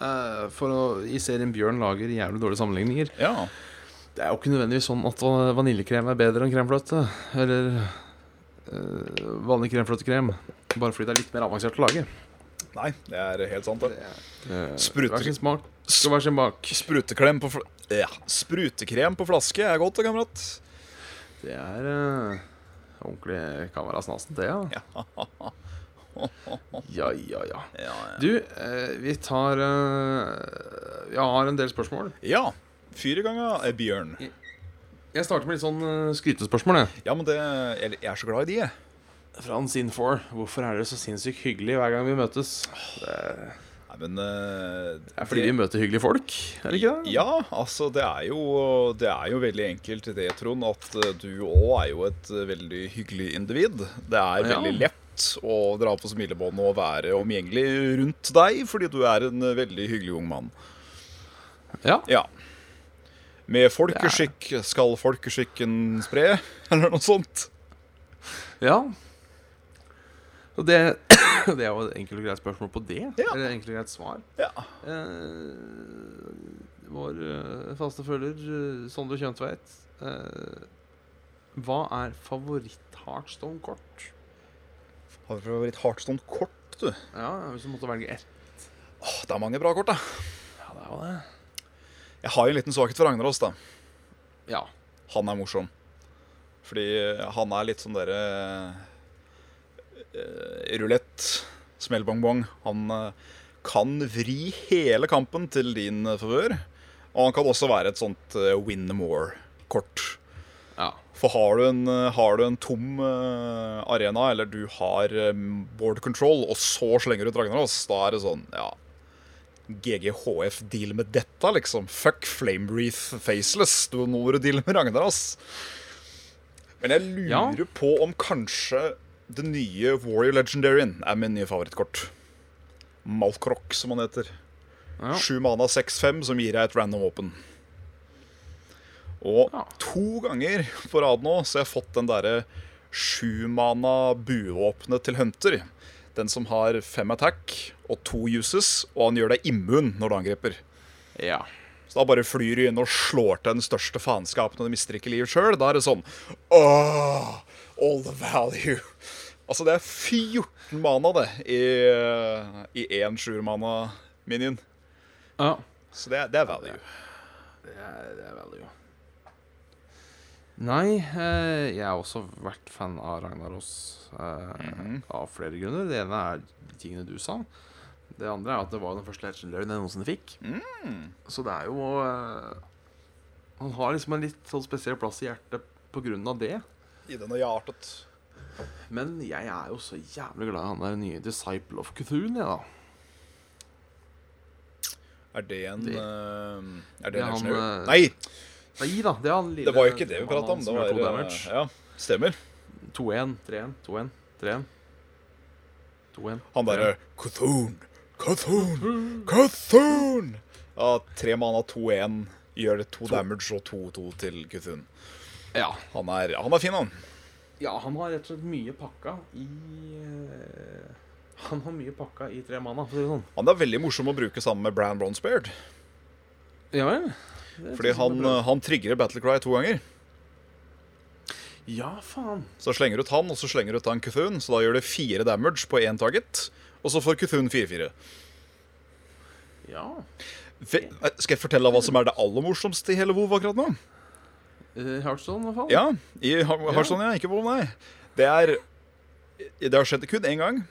Speaker 1: eh, for å I serien Bjørn lager jævlig dårlige sammenligninger.
Speaker 2: Ja.
Speaker 1: Det er jo ikke nødvendigvis sånn at va- vaniljekrem er bedre enn kremfløte. Eller eh, vanlig kremfløtekrem. Bare fordi det er litt mer avansert å lage.
Speaker 2: Nei, det er helt sant. det.
Speaker 1: Eh,
Speaker 2: Spruter-
Speaker 1: Hver sin smak skal være sin bak.
Speaker 2: Spruteklem på fl ja. Sprutekrem på flaske er godt, det, kamerat.
Speaker 1: Det er eh, ordentlig kamerasnasen, det, ja. Ja, ja, ja.
Speaker 2: Ja, ja.
Speaker 1: Du, eh, vi tar eh, Jeg har en del spørsmål.
Speaker 2: ja. Fyr i gang, ja, eh, Bjørn.
Speaker 1: Jeg starter med litt sånn eh, skrytespørsmål, jeg.
Speaker 2: Ja, men det Jeg jeg er så glad i de, jeg.
Speaker 1: Fra en Sin4. Hvorfor er dere så sinnssykt hyggelige hver gang vi møtes? Det
Speaker 2: Nei, men eh,
Speaker 1: er fordi vi møter hyggelige folk, er det ikke det?
Speaker 2: Ja, altså det er jo, det er jo veldig enkelt det, Trond, at eh, du òg er jo et eh, veldig hyggelig individ. Det er
Speaker 1: Ja.
Speaker 2: veldig lett å dra på smilebåndet og være omgjengelig rundt deg, fordi du er en eh, veldig hyggelig ung mann.
Speaker 1: Ja.
Speaker 2: Ja. Med folkeskikk skal folkeskikken spre, eller noe sånt.
Speaker 1: ja. Og det, det er jo et enkelt og greit spørsmål på det.
Speaker 2: Ja.
Speaker 1: Eller enkelt og greit svar.
Speaker 2: Ja.
Speaker 1: Eh, vår eh, faste følger eh, Sondre Kjøntveit eh, Hva er favoritt-Heartstone-kort?
Speaker 2: Har du favoritt Heartstone-kort, du?
Speaker 1: Ja, Hvis du måtte velge ett.
Speaker 2: Åh, det er mange bra kort, da.
Speaker 1: Ja, det er jo det.
Speaker 2: Jeg har jo en liten svakhet for Ragnarås, da.
Speaker 1: Ja.
Speaker 2: Han er morsom. Fordi han er litt sånn derre eh, Rulett, smellbongbong. Han eh, kan vri hele kampen til din eh, favør. Og han kan også være et sånt eh, win more-kort.
Speaker 1: ja.
Speaker 2: For har du en, eh, har du en tom eh, arena, eller du har eh, board control, og så slenger du ut Ragnarås, da er det sånn, ja GGHF, deal med dette, liksom. Fuck Flame Breath Faceless. Du nå må du deale med Ragnarås. Men jeg lurer på om kanskje det nye Warrior Legendaryen er min nye favorittkort. Malkrok, som han heter.
Speaker 1: Ja.
Speaker 2: Sju mana 6-5, som gir deg et random våpen. Og
Speaker 1: Ja.
Speaker 2: to ganger på rad nå så har jeg fått den derre sju mana buevåpenet til Hunter. Den som har fem attack og to uses, og han gjør deg immun når du angriper.
Speaker 1: ja.
Speaker 2: Så da bare flyr du inn og slår til den største faenskapen, og du mister ikke livet sjøl. Da er det sånn Åh, all the value. Altså, det er 14 mana, det, i, i én sjuermana-minion.
Speaker 1: ja.
Speaker 2: Så det, er- det er value.
Speaker 1: Det er, det er veldig jo. Nei, eh, jeg har også vært fan av Ragnaros eh,
Speaker 2: Mhm.
Speaker 1: av flere grunner. Det ene er de tingene du sa. Det andre er at det var den første legendaryen jeg noensinne fikk.
Speaker 2: Mm.
Speaker 1: Så det er jo eh, Han har liksom en litt sånn spesiell plass i hjertet på grunn av det.
Speaker 2: I den og hjertet.
Speaker 1: Men jeg er jo så jævlig glad i han der nye Disciple of Cthulhu, jeg, da.
Speaker 2: Er det en
Speaker 1: Det-
Speaker 2: eh, Er
Speaker 1: det
Speaker 2: det,
Speaker 1: er
Speaker 2: en
Speaker 1: han,
Speaker 2: legendary?
Speaker 1: eh,
Speaker 2: Nei,
Speaker 1: Nei da, det er han lille
Speaker 2: det var jo ikke det vi prata om.
Speaker 1: mannen
Speaker 2: Det
Speaker 1: som gjør
Speaker 2: var,
Speaker 1: to
Speaker 2: eh,
Speaker 1: damage.
Speaker 2: ja, stemmer.
Speaker 1: 2-1, 3-1, 2-1, 3-1. 2-1.
Speaker 2: Han derre Cthulhu, Cthulhu, Cthulhu! Ja, tre mana 2-1 gjør det to, damage og 2-2 til Cthulhu.
Speaker 1: Ja.
Speaker 2: Han er, han er fin, han.
Speaker 1: ja, han har rett og slett mye pakka i eh, Han har mye pakka i tre mana, for å si det sånn.
Speaker 2: Han er veldig morsom å bruke sammen med Bran Bronzebeard.
Speaker 1: Ja vel? Det
Speaker 2: Fordi
Speaker 1: synes jeg
Speaker 2: han,
Speaker 1: er bra.
Speaker 2: eh, han trigger Battlecry to ganger. eh,
Speaker 1: Ja, faen.
Speaker 2: Så slenger du ut han, og så slenger du ut han Cthulhu. Så da gjør det fire damage på én target. Og så får Cthulhu 4-4.
Speaker 1: Ja.
Speaker 2: Ve- eh, Skal jeg fortelle deg hva som er det aller morsomste i hele WoW akkurat nå?
Speaker 1: Eh, Hearthstone, i hvert fall.
Speaker 2: Ja, i Har- Hearthstone, ja. Ikke WoW, nei. Det er Det har skjedd kun én gang.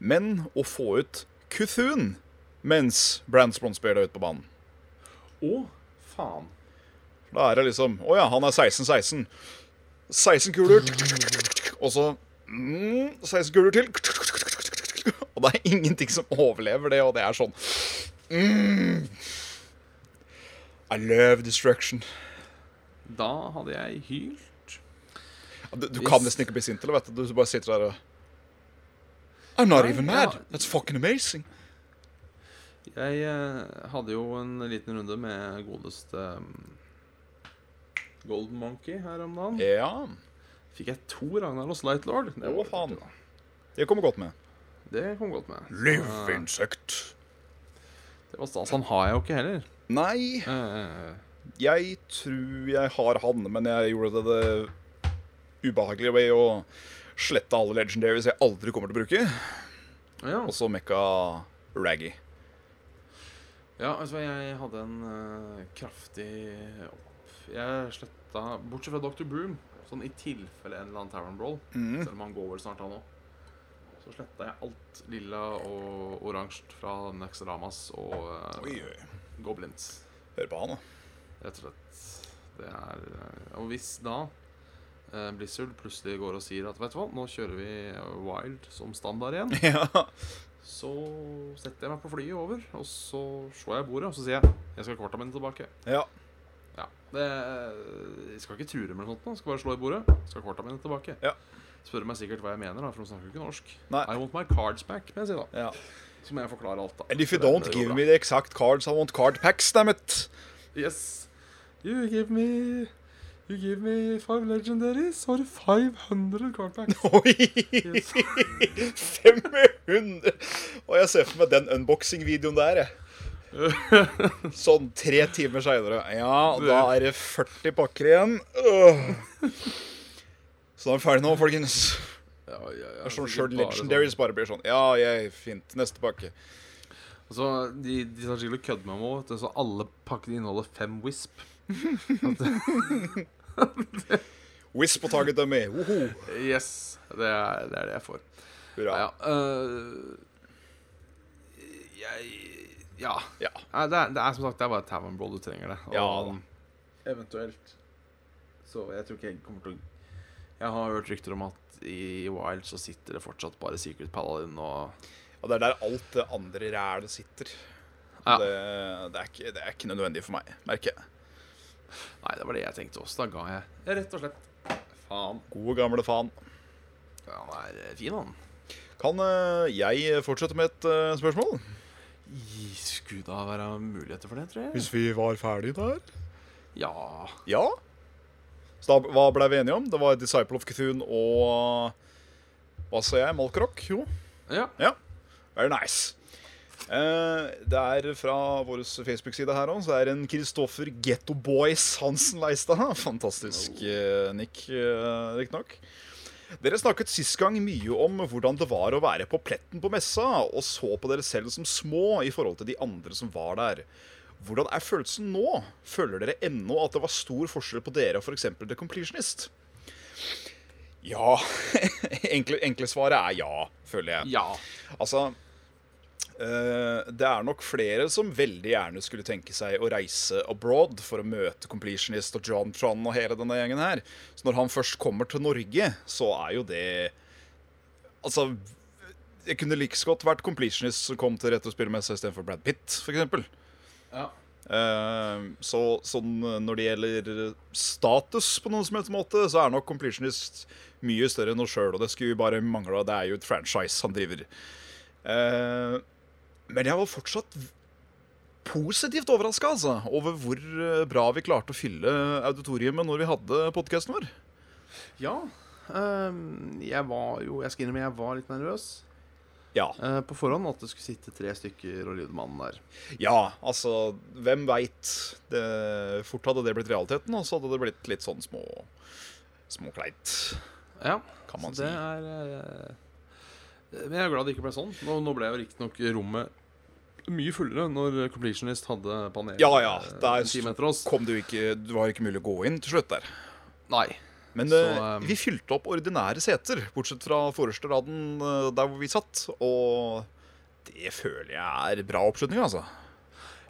Speaker 2: Men å få ut Cthulhu mens Brands Bronzebeard er ute på banen.
Speaker 1: Å, faen.
Speaker 2: Da er det liksom Å ja, han er 16-16. 16 kuler. tuk, tuk, tuk, tuk, tuk, Og så mm, 16 kuler til. tuk, tuk, tuk, tuk, tuk, tuk, tuk, Og det er ingenting som overlever det, og det er sånn mm. I love destruction.
Speaker 1: Da hadde jeg hylt.
Speaker 2: Du, du
Speaker 1: Hvis-
Speaker 2: kan nesten ikke bli sint eller vet du. Du bare sitter der og I'm not
Speaker 1: Nei,
Speaker 2: even
Speaker 1: ja.
Speaker 2: mad. That's fucking amazing.
Speaker 1: Jeg eh, hadde jo en liten runde med godeste um, Golden Monkey her om dagen.
Speaker 2: Ja.
Speaker 1: Fikk jeg to Ragnaros Lightlord. Det,
Speaker 2: Å,
Speaker 1: var-
Speaker 2: faen. Det kommer godt med.
Speaker 1: det kom godt med.
Speaker 2: Live insect.
Speaker 1: Det var stas. Han har jeg jo ikke heller.
Speaker 2: Nei,
Speaker 1: Eh,
Speaker 2: jeg tror jeg har han, men jeg gjorde det, det ubehagelige ved å slette alle legendaries jeg aldri kommer til å bruke.
Speaker 1: ja.
Speaker 2: Og så mekka Raggy.
Speaker 1: ja, altså jeg hadde en eh, kraftig opp... Jeg sletta Bortsett fra Dr. Broom, sånn i tilfelle en eller annen Tavern Brawl,
Speaker 2: Mm.
Speaker 1: selv om han går vel snart, han òg, så sletta jeg alt lilla og oransje fra Nexramas og eh,
Speaker 2: Oi, oi.
Speaker 1: Goblins,
Speaker 2: Hør på han, da.
Speaker 1: rett og slett. Det er eh, Og hvis da eh, Blizzard plutselig går og sier at vet du hva, nå kjører vi Wild som standard igjen
Speaker 2: Ja.
Speaker 1: Så setter jeg meg på flyet over, og så slår jeg bordet, og så sier jeg jeg skal ha korta mine tilbake.
Speaker 2: ja.
Speaker 1: Ja, det, eh, Jeg skal ikke true dem eller noe sånt, nå, jeg skal bare slå i bordet. Jeg skal ha korta mine tilbake.
Speaker 2: Ja.
Speaker 1: Spør meg sikkert hva jeg mener, da, for de snakker jo ikke norsk.
Speaker 2: Nei.
Speaker 1: I want my cards back, må jeg si da.
Speaker 2: ja.
Speaker 1: Så må jeg forklare alt, da.
Speaker 2: And if you
Speaker 1: Så det-
Speaker 2: don't
Speaker 1: det går
Speaker 2: give
Speaker 1: bra.
Speaker 2: me the exact cards, I want card packs, damn it.
Speaker 1: Yes. You give me You give me five legendaries or 500 card packs.
Speaker 2: Oi!
Speaker 1: Yes.
Speaker 2: 500! Og jeg ser for meg den unboxing-videoen der, jeg. Sånn tre timer seinere. Ja, da er det 40 pakker igjen. Øh. Så da er vi ferdig nå, folkens.
Speaker 1: Ja, ja, ja,
Speaker 2: Det er sånn
Speaker 1: sikkert
Speaker 2: Sjøl
Speaker 1: bare
Speaker 2: Legendaries bare blir sånn Ja, yeah, fint. Neste pakke.
Speaker 1: Og så De, de tar sikkert kødd med meg også, så alle pakkene inneholder fem Wisp.
Speaker 2: Whiz på taket dem med. Woho!
Speaker 1: Yes, det er det, er det jeg får.
Speaker 2: Hurra.
Speaker 1: Ja. øh, jeg Ja.
Speaker 2: Ja.
Speaker 1: Nei, det, er, det er som sagt Det er bare Tavern Brawl du trenger det.
Speaker 2: Ja da.
Speaker 1: eventuelt Så jeg tror ikke jeg kommer til å Jeg har hørt rykter om at i Wild så sitter det fortsatt bare Secret Paladin og
Speaker 2: Og det er der alt det andre rælet sitter.
Speaker 1: Ja.
Speaker 2: Det, det, er ikke, det er ikke nødvendig for meg, merker jeg.
Speaker 1: Nei, det var det jeg tenkte også. Da ga jeg rett og slett faen.
Speaker 2: Gode, gamle faen.
Speaker 1: Ja, Han er eh, fin, han.
Speaker 2: Kan eh, jeg fortsette med et eh, spørsmål?
Speaker 1: I- Skulle da være muligheter for det, tror jeg.
Speaker 2: Hvis vi var ferdige der?
Speaker 1: Ja.
Speaker 2: Ja. Så da, hva ble vi enige om? Det var Disciple of Cthulhu og Hva sa jeg? Malkrok? Jo.
Speaker 1: ja.
Speaker 2: Very nice. Eh, det er fra vår Facebook-side her òg, så er det en Kristoffer Getto Boys Hansen Leistad. Fantastisk eh, nick, eh, riktignok. Dere snakket sist gang mye om hvordan det var å være på pletten på messa, og så på dere selv som små i forhold til de andre som var der. Hvordan er følelsen nå? Føler dere ennå at det var stor forskjell på dere og f.eks. The Completionist? Ja. enkle, enkle svaret er ja, føler jeg.
Speaker 1: Ja.
Speaker 2: Altså eh, Det er nok flere som veldig gjerne skulle tenke seg å reise abroad for å møte Completionist og John Tron og hele denne gjengen her. Så når han først kommer til Norge, så er jo det Altså Det kunne like så godt vært Completionist som kom til rette og spille med seg istedenfor Brad Pitt, f.eks.
Speaker 1: ja.
Speaker 2: Eh, så sånn, eh, når det gjelder status på noen som helst måte, så er nok Completionist mye større enn oss sjøl, og det skulle bare mangle. Det er jo et franchise han driver. Eh, men jeg var fortsatt v- positivt overraska altså, over hvor eh, bra vi klarte å fylle auditoriumet når vi hadde podkasten vår.
Speaker 1: Ja. ehm, jeg var jo Jeg skal innrømme jeg var litt nervøs
Speaker 2: Ja.
Speaker 1: eh, på forhånd at det skulle sitte tre stykker og lyde mannen der.
Speaker 2: ja, altså Hvem veit? Det- Fort hadde det blitt realiteten, og så hadde det blitt litt sånn små småkleint,
Speaker 1: Ja,
Speaker 2: kan
Speaker 1: så
Speaker 2: man
Speaker 1: det
Speaker 2: si.
Speaker 1: er eh, Men jeg er glad det ikke ble sånn. Nå, nå ble jo riktignok rommet mye fullere når Completionist hadde panel
Speaker 2: Ja, ja,
Speaker 1: eh,
Speaker 2: det er
Speaker 1: en time etter oss.
Speaker 2: kom du ikke Du var ikke mulig å gå inn til slutt der.
Speaker 1: Nei.
Speaker 2: Men
Speaker 1: Så,
Speaker 2: eh,
Speaker 1: ehm,
Speaker 2: vi fylte opp ordinære seter, bortsett fra forreste raden eh, der hvor vi satt. Og det føler jeg er bra oppslutning, altså.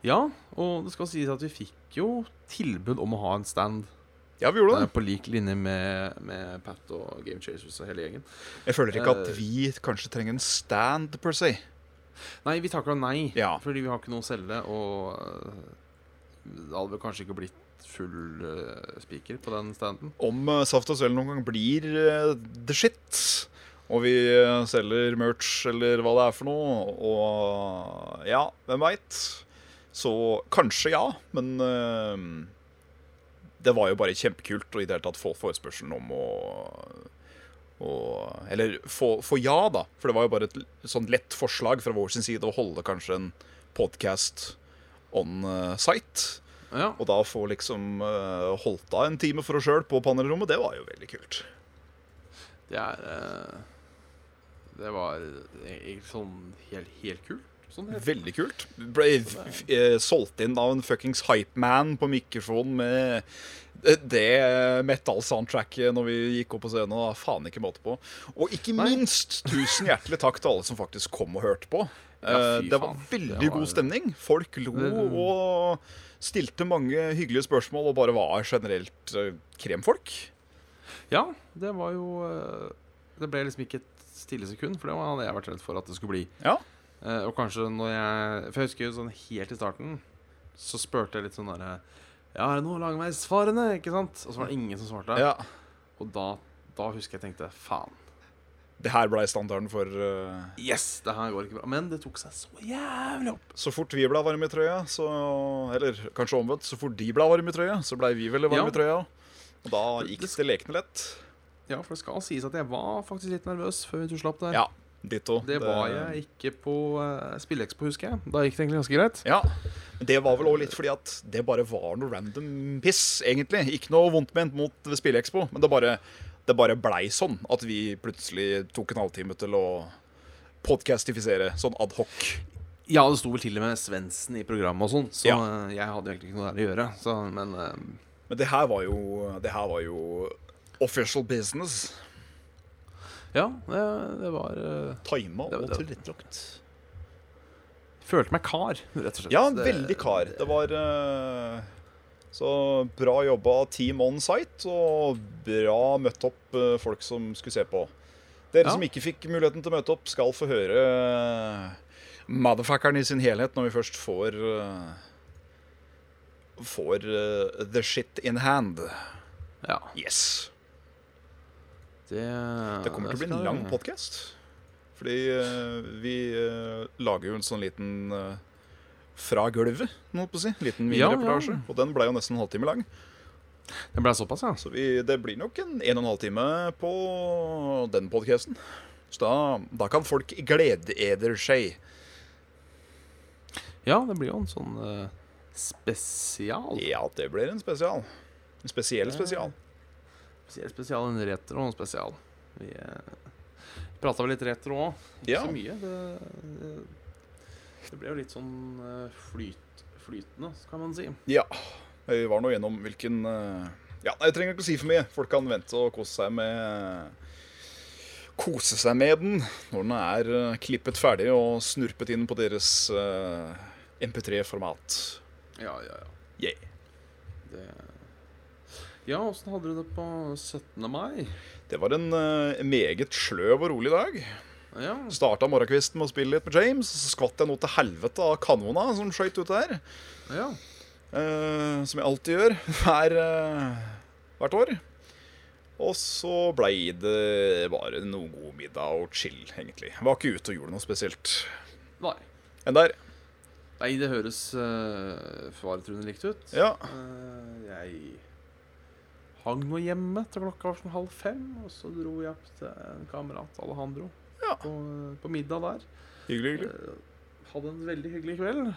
Speaker 1: Ja, og det skal sies at vi fikk jo tilbud om å ha en stand
Speaker 2: Ja, vi gjorde
Speaker 1: eh,
Speaker 2: det.
Speaker 1: på lik linje med, med Pat og Game Chasers og hele gjengen.
Speaker 2: Jeg føler ikke at
Speaker 1: eh,
Speaker 2: vi kanskje trenger en stand, per se.
Speaker 1: Nei, vi takka nei,
Speaker 2: Ja.
Speaker 1: fordi vi har ikke noe å selge, og eh, det hadde vel kanskje ikke blitt full eh, spiker på den standen.
Speaker 2: Om eh, Saft og Svele noen gang blir eh, the shit, og vi eh, selger merch eller hva det er for noe, og ja, hvem veit? Så kanskje ja, men eh, det var jo bare kjempekult å i det hele tatt få forespørselen om å å- eller få, få ja, da. For det var jo bare et l- sånn lett forslag fra vår sin side å holde kanskje en podkast on eh, site.
Speaker 1: Ja,
Speaker 2: Og da få liksom eh, holdt av en time for oss sjøl på panelrommet, det var jo veldig kult.
Speaker 1: Det er eh, Det var egentlig sånn helt, helt kult. Sånn helt.
Speaker 2: Veldig kult. Ble f f eh, solgt inn av en fuckings hypeman på mikrofonen med eh, det metal-soundtracket når vi gikk opp på scenen. Da. Faen ikke måte på. Og ikke
Speaker 1: Nei.
Speaker 2: minst tusen hjertelig takk til alle som faktisk kom og hørte på.
Speaker 1: Ja,
Speaker 2: Eh,
Speaker 1: fy
Speaker 2: det var
Speaker 1: faen.
Speaker 2: veldig
Speaker 1: Det var-
Speaker 2: god stemning. Folk lo
Speaker 1: Det-
Speaker 2: og stilte mange hyggelige spørsmål og bare var generelt eh, kremfolk.
Speaker 1: Ja, det var jo eh, Det ble liksom ikke et stille sekund, for det var- hadde jeg vært redd for at det skulle bli.
Speaker 2: Ja.
Speaker 1: Eh, og kanskje når jeg For jeg husker jo sånn helt i starten, så spurte jeg litt sånn derre Ja, er det noe langveisfarende? Ikke sant? Og så var det ingen som svarte.
Speaker 2: ja.
Speaker 1: Og da, da husker jeg tenkte faen.
Speaker 2: Det her blei standarden for eh,
Speaker 1: Yes, det her går ikke bra. Men det tok seg så jævlig opp.
Speaker 2: Så fort vi ble varme i trøya, så Eller kanskje omvendt. Så fort de ble varme i trøya, så blei vi vel varme
Speaker 1: Ja.
Speaker 2: i trøya. Og da gikk
Speaker 1: Det
Speaker 2: det lekende lett.
Speaker 1: Ja, for det skal sies at jeg var faktisk litt nervøs før vi tusla opp der.
Speaker 2: Ja, ditto.
Speaker 1: Det var jeg ikke på uh, Spillekspo, husker jeg. Da gikk det egentlig ganske greit.
Speaker 2: Ja. Men det var vel òg litt fordi at det bare var noe random piss, egentlig. Ikke noe vondt ment mot Spillekspo, men det bare det bare blei sånn at vi plutselig tok en halvtime til å podcastifisere sånn adhoc.
Speaker 1: Ja, det sto vel til og med Svendsen i programmet og sånn, så
Speaker 2: Ja.
Speaker 1: eh, jeg hadde egentlig ikke noe der å gjøre. Så, men eh,
Speaker 2: Men det her var jo, det her var jo official business.
Speaker 1: ja, det, det var eh,
Speaker 2: Tima
Speaker 1: Det-
Speaker 2: og
Speaker 1: det-
Speaker 2: tilrettelagt.
Speaker 1: Følte meg kar, rett og slett.
Speaker 2: Ja,
Speaker 1: Det-
Speaker 2: veldig kar. Det var eh, så bra jobba team on site, og bra møtt opp eh, folk som skulle se på. Dere
Speaker 1: Ja.
Speaker 2: som ikke fikk muligheten til å møte opp, skal få høre eh, motherfuckeren i sin helhet når vi først får eh, Får eh, the shit in hand.
Speaker 1: Ja,
Speaker 2: Yes.
Speaker 1: det,
Speaker 2: Det kommer til å bli en
Speaker 1: skal-
Speaker 2: lang podkast. Fordi eh, vi eh, lager jo en sånn liten eh, fra gulvet, må jeg på å si. Liten
Speaker 1: Ja, ja.
Speaker 2: minireportasje. Og den ble jo nesten en halvtime lang.
Speaker 1: Det ble såpass, ja.
Speaker 2: Så vi, det blir nok en en og en halv time på den podkasten. Så da, da kan folk glede eder seg.
Speaker 1: Ja, det blir jo en sånn eh, spesial.
Speaker 2: Ja, det blir en spesial. En spesiell spesial.
Speaker 1: Spesiell spesial, en retro og en spesial. Vi eh, prata vel litt retro òg. Ikke
Speaker 2: Ja.
Speaker 1: så mye. Det, det, det ble jo litt sånn eh, flyt, flytende, kan man si.
Speaker 2: Ja. Vi var nå gjennom hvilken eh, Ja, nei, jeg trenger ikke å si for mye. Folk kan vente og kose seg med Kose seg med den når den er eh, klippet ferdig og snurpet inn på deres eh, MP3-format.
Speaker 1: Ja, ja, ja.
Speaker 2: Yeah.
Speaker 1: Det, ja, åssen hadde du det på 17. mai?
Speaker 2: Det var en eh, meget sløv og rolig dag.
Speaker 1: Ja,
Speaker 2: Starta morgenkvisten med å spille litt med James, og så skvatt jeg noe til helvete av kanona som skøyt ut der.
Speaker 1: ja.
Speaker 2: Eh, som jeg alltid gjør hver, eh, hvert år. Og så blei det bare noe god middag og chill, egentlig. Jeg var ikke ute og gjorde noe spesielt
Speaker 1: Nei.
Speaker 2: enn der.
Speaker 1: Nei, det høres uh, faretruende likt ut.
Speaker 2: Ja.
Speaker 1: Eh, jeg hang nå hjemme til klokka var sånn halv fem, og så dro jeg opp til en kamerat, Alejandro,
Speaker 2: Ja.
Speaker 1: på, på middag der.
Speaker 2: Hyggelig, hyggelig.
Speaker 1: Eh, hadde en veldig hyggelig kveld,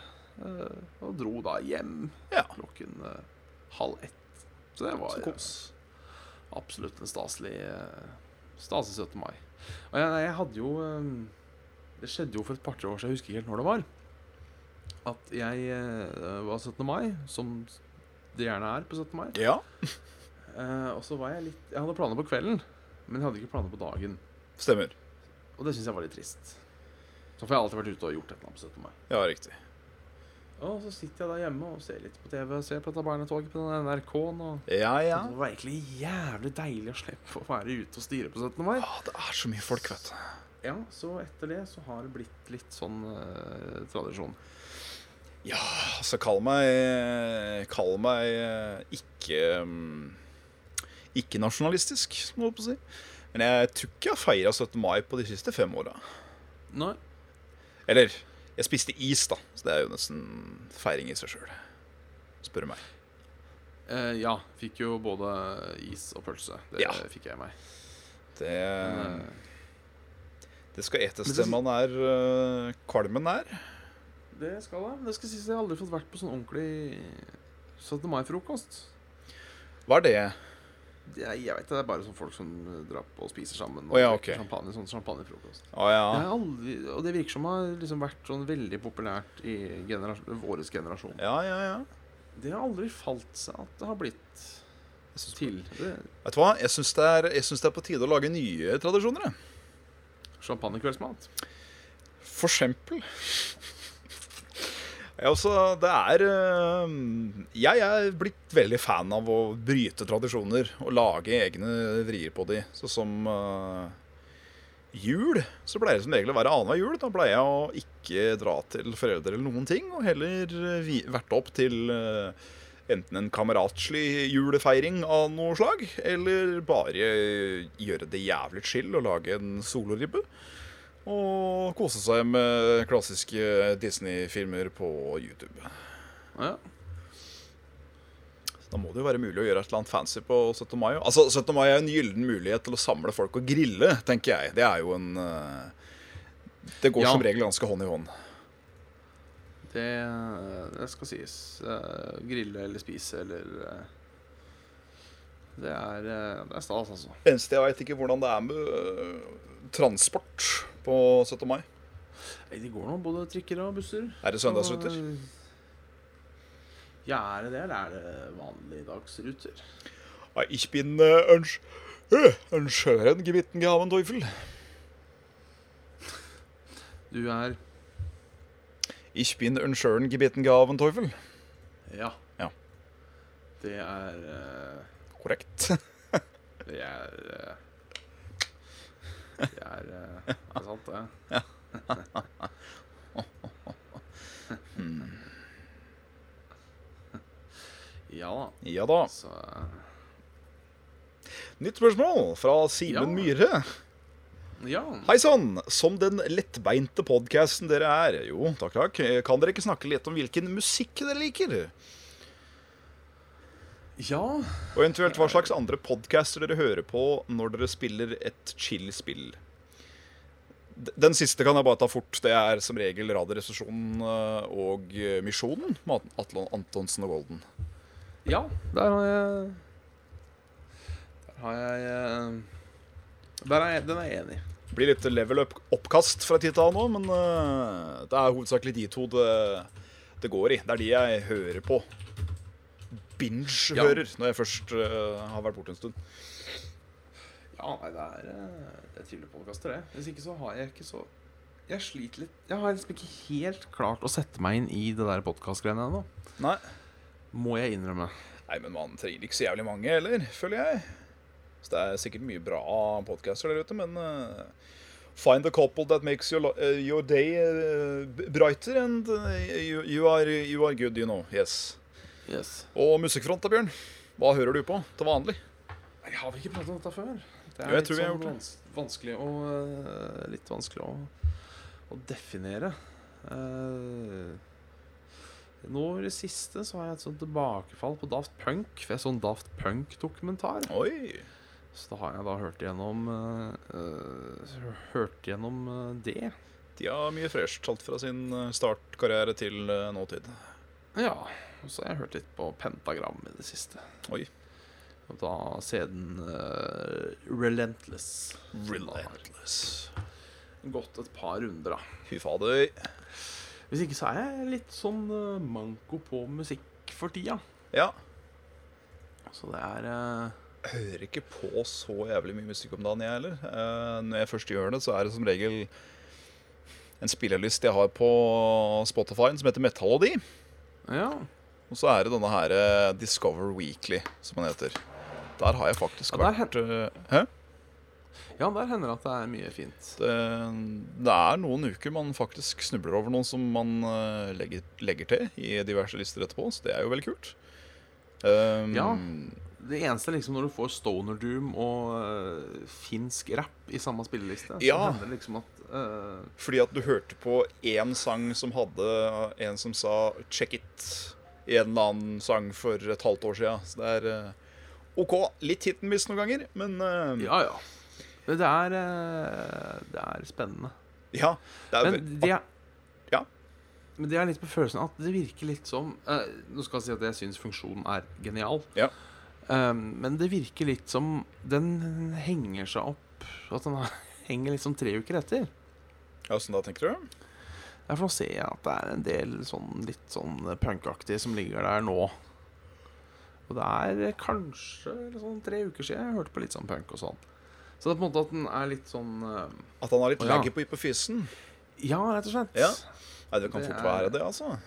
Speaker 1: eh, og dro da hjem
Speaker 2: Ja.
Speaker 1: klokken eh, halv ett. Så det var
Speaker 2: Så
Speaker 1: eh, absolutt en staselig eh, staselig 17. mai. Og jeg, jeg hadde jo eh, Det skjedde jo for et par-tre år siden, jeg husker ikke helt når det var, at jeg eh, var 17. mai, som det gjerne er på 17. mai.
Speaker 2: Ja,
Speaker 1: Eh, og så var jeg litt Jeg hadde planer på kvelden, men jeg hadde ikke planer på dagen.
Speaker 2: stemmer.
Speaker 1: Og det syns jeg var litt trist. Så får jeg alltid vært ute og gjort et eller annet på 17. mai.
Speaker 2: Ja, riktig.
Speaker 1: Og så sitter jeg da hjemme og ser litt på TV, ser på dette barnetoget på den NRK-en. Og
Speaker 2: Ja, ja.
Speaker 1: det var egentlig jævlig deilig å slippe å være ute og styre på 17. mai.
Speaker 2: Ja, det er så mye folk, vet du.
Speaker 1: Ja, Så etter det så har det blitt litt sånn eh, tradisjon.
Speaker 2: Ja, altså, kall meg Kall meg eh, ikke mm, Ikke nasjonalistisk, må jeg på å si. Men jeg tror ikke jeg har feira 17. mai på de siste fem åra.
Speaker 1: Nei.
Speaker 2: Eller jeg spiste is, da. Så det er jo nesten feiring i seg sjøl. Spør du meg.
Speaker 1: Eh, ja. Fikk jo både is og pølse. Det
Speaker 2: Ja.
Speaker 1: fikk jeg i meg.
Speaker 2: Det,
Speaker 1: Men, eh,
Speaker 2: det skal etes
Speaker 1: Men det-
Speaker 2: til man er øh, kvalmen er.
Speaker 1: det skal jeg. Men det skal sies jeg har aldri fått vært på sånn ordentlig 17. mai-frokost.
Speaker 2: Hva er det?
Speaker 1: Det er- Jeg vet det, det er bare sånn folk som eh, drar på og spiser sammen.
Speaker 2: Å ja,
Speaker 1: drikker
Speaker 2: ok.
Speaker 1: champagne, sånn champagnefrokost.
Speaker 2: Å ja.
Speaker 1: Det er aldri, og det virker som det har liksom vært sånn veldig populært i generas vår generasjon.
Speaker 2: Ja, ja, ja.
Speaker 1: Det har aldri falt seg at det har blitt
Speaker 2: Jeg syns-
Speaker 1: til. Det,
Speaker 2: Vet du hva? Jeg syns det, er- jeg syns det er på tide å lage nye tradisjoner. jeg.
Speaker 1: Champagnekveldsmat.
Speaker 2: For eksempel. Jeg, også, altså, det er, øh, jeg er blitt veldig fan av å bryte tradisjoner og lage egne vrier på de. Sånn som øh, jul, så pleier det som regel å være annenhver jul. Da pleier jeg å ikke dra til foreldre eller noen ting, og heller øh, vi- verte opp til øh, enten en kameratslig julefeiring av noe slag, eller bare gjøre det jævlig chill og lage en soloribbe. Og kose seg med klassiske Disney-filmer på YouTube.
Speaker 1: Ja.
Speaker 2: Da må det jo være mulig å gjøre et eller annet fancy på 17. mai. også. Altså, 17. mai er en gyllen mulighet til å samle folk og grille, tenker jeg. Det er jo en eh, Det går
Speaker 1: Ja.
Speaker 2: som regel ganske hånd i hånd.
Speaker 1: Det, det skal sies. Eh, grille eller spise eller eh, Det er, eh, det er stas, altså.
Speaker 2: Eneste jeg veit ikke hvordan det er med øh, transport på 17. mai.
Speaker 1: Nei, Det går nå både trikker og busser.
Speaker 2: Er det søndagsruter?
Speaker 1: Og- Ja, er det det, eller er det vanligdagsruter?
Speaker 2: Nei, Ich bin äh, ein, Sch- äh, ein schönen gebitten gehaben Teufel.
Speaker 1: Du er
Speaker 2: Ich bin ein schönen gebitten gehaben Teufel.
Speaker 1: Ja.
Speaker 2: Ja.
Speaker 1: Det er eh,
Speaker 2: Korrekt.
Speaker 1: Det er eh, Det er eh, Det er sant, det. Ja da.
Speaker 2: Ja da.
Speaker 1: Så eh,
Speaker 2: Nytt spørsmål fra Simen
Speaker 1: Ja.
Speaker 2: Myhre.
Speaker 1: Ja.
Speaker 2: Hei sann! Som den lettbeinte podkasten dere er Jo, takk, takk. Kan dere ikke snakke litt om hvilken musikk dere liker?
Speaker 1: Ja.
Speaker 2: Og eventuelt hva slags andre podcaster dere hører på når dere spiller et chill spill? D- Den siste kan jeg bare ta fort. Det er som regel Radioresepsjonen eh, og eh, Misjonen med At- Atle Antonsen og Golden.
Speaker 1: Ja, der har jeg Der har jeg eh, der er jeg, Den er jeg enig i.
Speaker 2: Blir litt level up-oppkast fra tid til annen nå, men eh, det er hovedsakelig de to det, det går i. Det er de jeg hører på. Binge-hører når jeg først eh, har vært borte en stund.
Speaker 1: Ja, nei, det er, eh, det er trivelige podkaster, det. Hvis ikke så har jeg ikke så Jeg sliter litt Jeg har liksom ikke helt klart å sette meg inn i det der podkastgreiene ennå.
Speaker 2: Nei.
Speaker 1: Må jeg innrømme.
Speaker 2: Nei, men man trenger ikke så jævlig mange heller, føler jeg. Så det er sikkert mye bra podcaster der ute, men eh, Find a couple that makes your, lo- eh, your day eh, b- brighter and eh, you, you, are, you are good, you know. Yes.
Speaker 1: Yes.
Speaker 2: Og musikkfront da, Bjørn? Hva hører du på til vanlig?
Speaker 1: Nei, har vi ikke pratet om dette før? Det sånn
Speaker 2: Jo, jeg tror vi har gjort det.
Speaker 1: vans vanskelig å eh, Litt vanskelig å, å definere. Eh, nå i det siste så har jeg et sånt tilbakefall på Daft Punk. For jeg så en Daft Punk-dokumentar.
Speaker 2: Oi.
Speaker 1: Så da har jeg da hørt igjennom eh, eh, Hørt igjennom eh, det.
Speaker 2: De har mye fresht, alt fra sin eh, startkarriere til eh, nåtid.
Speaker 1: Ja. Og så har jeg hørt litt på Pentagram i det siste.
Speaker 2: Oi.
Speaker 1: Og da CD-en eh, Relentless.
Speaker 2: Relentless.
Speaker 1: Gått et par runder, da.
Speaker 2: Fy fader.
Speaker 1: Hvis ikke så er jeg litt sånn eh, manko på musikk for tida.
Speaker 2: Ja.
Speaker 1: Så det er eh,
Speaker 2: hører ikke på så jævlig mye musikk om dagen, jeg heller. Eh, når jeg først gjør det, så er det som regel en spillerlist jeg har på Spotify som heter Metallody.
Speaker 1: eh, Ja.
Speaker 2: Og så er det denne her eh, Discover Weekly, som den heter. Der har jeg faktisk
Speaker 1: Ja, der
Speaker 2: vært eh, Hæ?
Speaker 1: ja, der hender det at det er mye fint.
Speaker 2: Det, eh, det er noen uker man faktisk snubler over noen som man eh, legger, legger til i diverse lister etterpå, så det er jo veldig kult. Eh,
Speaker 1: Ja. Det eneste er liksom når du får Stoner Doom og eh, finsk rap i samme spilleliste, så
Speaker 2: Ja.
Speaker 1: hender det liksom at eh,
Speaker 2: Fordi at du hørte på én sang som hadde eh, en som sa 'check it' i en eller annen sang for et halvt år sia. Så det er eh, OK. Litt hit and miss noen ganger, men eh,
Speaker 1: Ja, ja. Men det er eh, Det er spennende.
Speaker 2: ja, det er
Speaker 1: Men det er
Speaker 2: Ja.
Speaker 1: Men det er litt på følelsen at det virker litt som eh, Nå skal jeg si at jeg syns funksjonen er genial.
Speaker 2: Ja.
Speaker 1: Eh, men det virker litt som den henger seg opp At den har- henger liksom tre uker etter.
Speaker 2: ja, Åssen da, tenker du?
Speaker 1: Derfor ser jeg at det er en del sånn litt sånn punkaktig som ligger der nå. Og det er kanskje eller sånn tre uker siden jeg hørte på litt sånn punk og sånn. Så det er på en måte at den er litt sånn eh,
Speaker 2: At han har litt
Speaker 1: Å, ja.
Speaker 2: laggy på hypofysen?
Speaker 1: Ja, rett og slett.
Speaker 2: Ja. Nei, det kan
Speaker 1: Det
Speaker 2: fort
Speaker 1: er-
Speaker 2: være det, altså.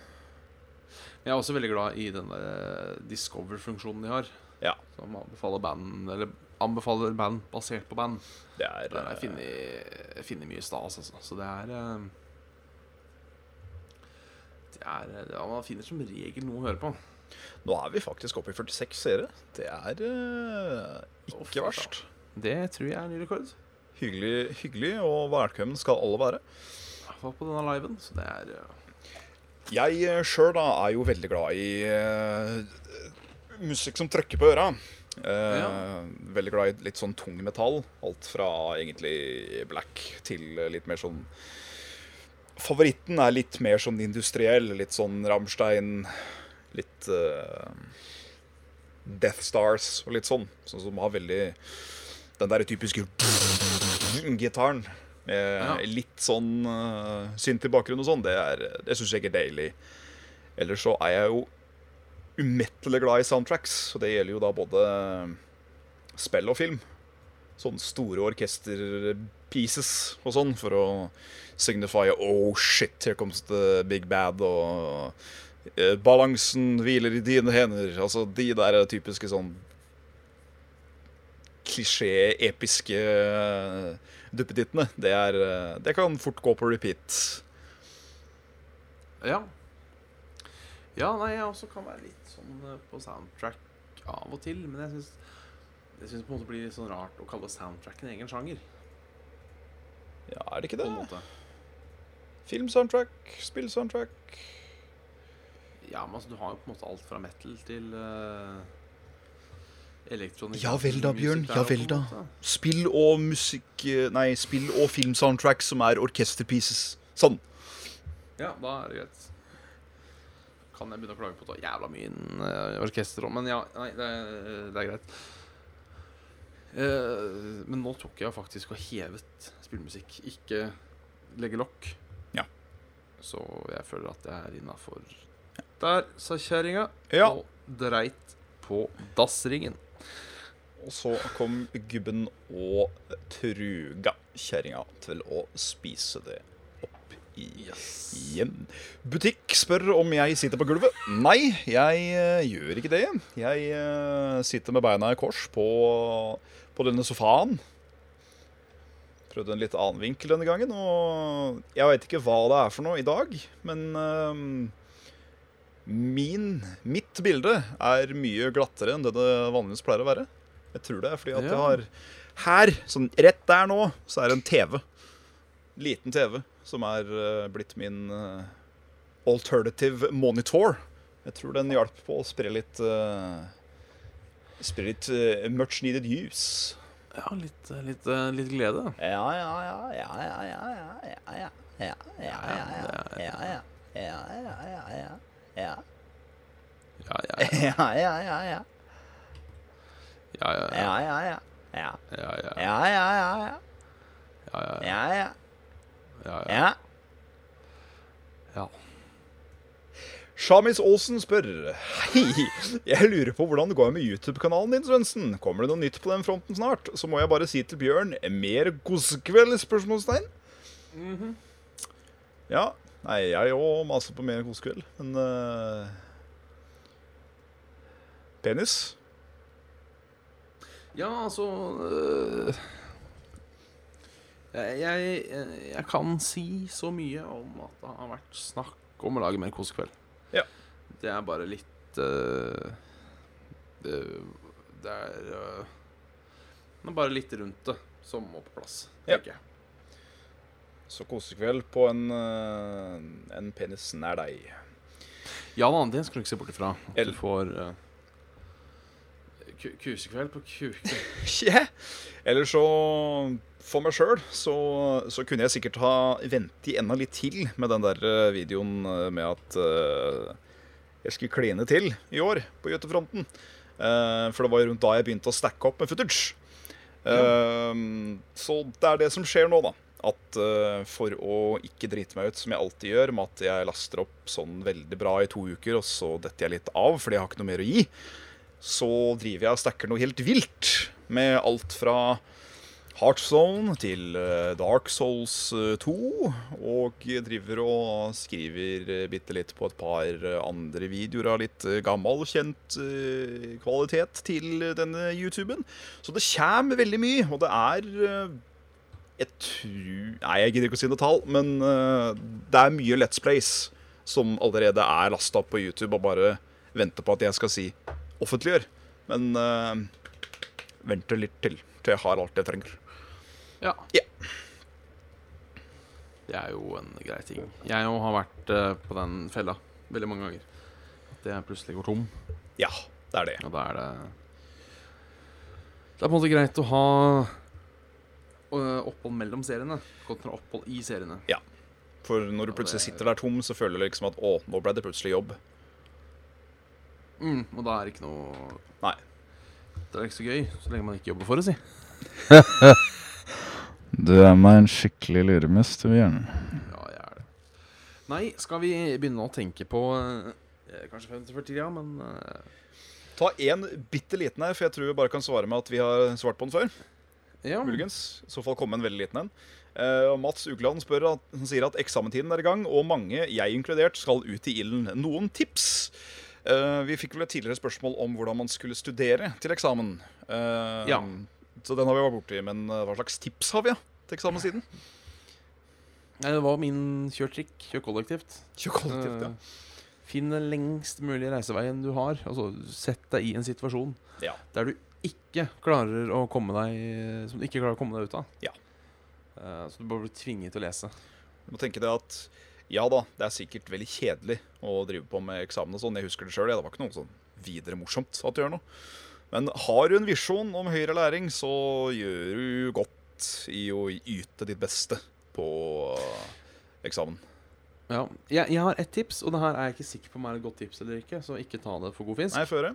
Speaker 1: Jeg er også veldig glad i den der eh, discover-funksjonen de har.
Speaker 2: Ja.
Speaker 1: Som anbefaler band, eller anbefaler band basert på band.
Speaker 2: Det er,
Speaker 1: Der har jeg
Speaker 2: eh,
Speaker 1: funnet- funnet mye stas, altså. Så det er eh, Det er eh, ja, Man finner som regel noe å høre på.
Speaker 2: Nå er vi faktisk oppe i 46 seere. Det er eh,
Speaker 1: Å,
Speaker 2: ikke
Speaker 1: fy faen.
Speaker 2: verst.
Speaker 1: Det tror jeg er ny rekord.
Speaker 2: Hyggelig, hyggelig og velkommen skal alle være.
Speaker 1: I hvert fall på denne liven. Så det er eh,
Speaker 2: Jeg eh, sjøl da er jo veldig glad i eh, musikk som trykker på øra. Eh,
Speaker 1: Ja.
Speaker 2: Veldig glad i litt sånn tung metall. Alt fra egentlig black til eh, litt mer sånn Favoritten er litt mer sånn industriell. Litt sånn Rammstein. Litt eh, Death Stars og litt sånn. Sånn som har veldig den der typiske gitaren. Eh,
Speaker 1: Ja.
Speaker 2: Litt sånn uh, synt i bakgrunnen og sånn. Det, er- det syns jeg er deilig. Ellers så er jeg jo umettelig glad i soundtracks, og det gjelder jo da både eh, spill og film. Sånne store orkester-pieces og sånn, for å signify Oh shit, here comes the big bad, og eh, Balansen hviler i dine hender. Altså de der typiske sånn klisjé-episke eh, duppedittene. Det, er, eh, det kan fort gå på repeat.
Speaker 1: Ja. Ja, nei, jeg også kan være litt sånn eh, på soundtrack av og til, men jeg syns jeg synes på en måte blir litt sånn rart å kalle soundtrack en egen sjanger.
Speaker 2: Ja, er det ikke
Speaker 1: på
Speaker 2: det?
Speaker 1: en måte.
Speaker 2: Filmsoundtrack, spillsoundtrack
Speaker 1: Ja, men altså, du har jo på en måte alt fra metal til uh, elektronisk
Speaker 2: Ja vel da,
Speaker 1: music
Speaker 2: Bjørn.
Speaker 1: der
Speaker 2: Ja
Speaker 1: også, på en
Speaker 2: vel da.
Speaker 1: måte.
Speaker 2: Spill og musikk eh, Nei, spill og filmsoundtrack som er orkesterpieces. Sånn.
Speaker 1: Ja, da er det greit. Kan jeg begynne å klage på at det var jævla mye innen eh, orkester òg, men ja, nei, det, er- det er greit. Eh, men nå tok jeg faktisk og hevet spillmusikk, ikke legge lokk.
Speaker 2: Ja.
Speaker 1: Så jeg føler at jeg er innafor Der sa kjerringa
Speaker 2: Ja.
Speaker 1: og dreit på dassringen.
Speaker 2: Og så kom gubben og truga kjerringa til å spise det opp i igjen. Butikk spør om jeg sitter på gulvet. Nei, jeg eh, gjør ikke det. Jeg eh, sitter med beina i kors på, på denne sofaen. Prøvde en litt annen vinkel denne gangen, og jeg veit ikke hva det er for noe i dag, men eh, Min, mitt bilde er mye glattere enn det det vanligvis pleier å være. Jeg tror det er fordi at jeg
Speaker 1: Ja.
Speaker 2: har Her, sånn rett der nå, så er det en TV. Liten TV som er eh, blitt min eh, alternative monitor. Jeg tror den hjalp på å spre litt eh, Spre litt eh, much needed use.
Speaker 1: Ja, litt, eh, litt, eh, litt glede.
Speaker 2: Ja, ja, ja, ja, ja, ja, ja, ja, ja, ja, ja, ja, ja, ja, ja, ja, ja.
Speaker 1: Ja, ja, ja.
Speaker 2: Ja, ja, ja, ja.
Speaker 1: Ja,
Speaker 2: Ja, ja, ja. Ja,
Speaker 1: ja, ja. ja, ja, ja,
Speaker 2: ja, ja, ja. Ja,
Speaker 1: ja, ja,
Speaker 2: ja,
Speaker 1: ja, ja.
Speaker 2: ja.
Speaker 1: ja.
Speaker 2: Shamis Olsen spør Hei, jeg lurer på hvordan det går med YouTube-kanalen din, Svendsen. Kommer det noe nytt på den fronten snart? Så må jeg bare si til Bjørn mer kosekveld? spørsmålstegn. Mm-hmm. Ja. Nei, jeg òg maser på mer kosekveld, men eh, Penis?
Speaker 1: Ja, altså øh, eh, jeg, jeg, jeg kan si så mye om at det har vært snakk om å lage mer kosekveld.
Speaker 2: Ja.
Speaker 1: Det er bare litt øh, det, det er øh, Det er bare litt rundt det som må på plass,
Speaker 2: Ja.
Speaker 1: tenker jeg.
Speaker 2: Så kosekveld på en, eh, en penis nær deg.
Speaker 1: Ja da, det skal du ikke se bort ifra. At
Speaker 2: Eller-
Speaker 1: du får øh, ku- kusekveld på kuke.
Speaker 2: Tje. Eller så For meg sjøl så, så kunne jeg sikkert ha ventet enda litt til med den der eh, videoen eh, med at eh, jeg skulle kline til i år på Gjøtefronten. Eh, for det var jo rundt da jeg begynte å stacke opp med footage. Eh, Så det er det som skjer nå, da. At eh, for å ikke drite meg ut, som jeg alltid gjør, med at jeg laster opp sånn veldig bra i to uker, og så detter jeg litt av fordi jeg har ikke noe mer å gi så driver jeg og stacker noe helt vilt med alt fra Heartzone til eh, Dark Souls eh, 2, og driver og skriver eh, bitte litt på et par eh, andre videoer av litt eh, gammel, kjent eh, kvalitet til eh, denne YouTuben. Så det kommer veldig mye, og det er eh, Jeg tror Nei, jeg gidder ikke å si noe tall, men eh, det er mye Let's Plays som allerede er lasta opp på YouTube og bare venter på at jeg skal si offentliggjør. Men uh, venter litt til, til jeg har alt jeg trenger.
Speaker 1: Ja.
Speaker 2: Ja.
Speaker 1: Det er jo en grei ting. Jeg òg har vært eh, på den fella veldig mange ganger. At jeg plutselig går tom.
Speaker 2: Ja, det er det.
Speaker 1: Og da er det Det er på en måte greit å ha eh, opphold mellom seriene kontra opphold i seriene.
Speaker 2: For når du
Speaker 1: Ja,
Speaker 2: plutselig
Speaker 1: det er-
Speaker 2: sitter der tom, så føler du liksom at å, nå ble det plutselig jobb.
Speaker 1: Mm, og da er det ikke noe
Speaker 2: Nei.
Speaker 1: Det er ikke så gøy, så lenge man ikke jobber for det, si.
Speaker 3: Du er meg en skikkelig luremus, du, Bjørn.
Speaker 1: Ja, jeg er det. Nei, skal vi begynne å tenke på eh, Kanskje 50-40, ja, men eh,
Speaker 2: Ta en bitte liten her, for jeg tror vi bare kan svare med at vi har svart på den før.
Speaker 1: Ja.
Speaker 2: Muligens. I så fall komme en veldig liten en. Eh, Mats Ugland spør at, han sier at eksamenstiden er i gang, og mange, jeg inkludert, skal ut i ilden. Noen tips? Eh, vi fikk vel et tidligere spørsmål om hvordan man skulle studere til eksamen. Eh,
Speaker 1: Ja.
Speaker 2: Så den har vi vært borti. Men eh, hva slags tips har vi ja, til eksamenstiden?
Speaker 1: Nei, det var min kjør trikk. Kjør kollektivt.
Speaker 2: Kjør kollektivt, ja.
Speaker 1: Eh, Finn den lengst mulige reiseveien du har. Altså, sett deg i en situasjon
Speaker 2: Ja.
Speaker 1: der du ikke klarer å komme deg Som du ikke klarer å komme deg ut av.
Speaker 2: Ja.
Speaker 1: Eh, så du bare blir tvinget til å lese.
Speaker 2: Du må tenke deg at ja da, det er sikkert veldig kjedelig å drive på med eksamen og sånn. Jeg husker det sjøl, det var ikke noe sånn videre morsomt at du gjør noe. Men har du en visjon om høyere læring, så gjør du godt i å yte ditt beste på eh, eksamen.
Speaker 1: Ja. Jeg, jeg har ett tips, og det her er jeg ikke sikker på om er et godt tips eller ikke, så ikke ta det for god fisk.
Speaker 2: Nei, føre.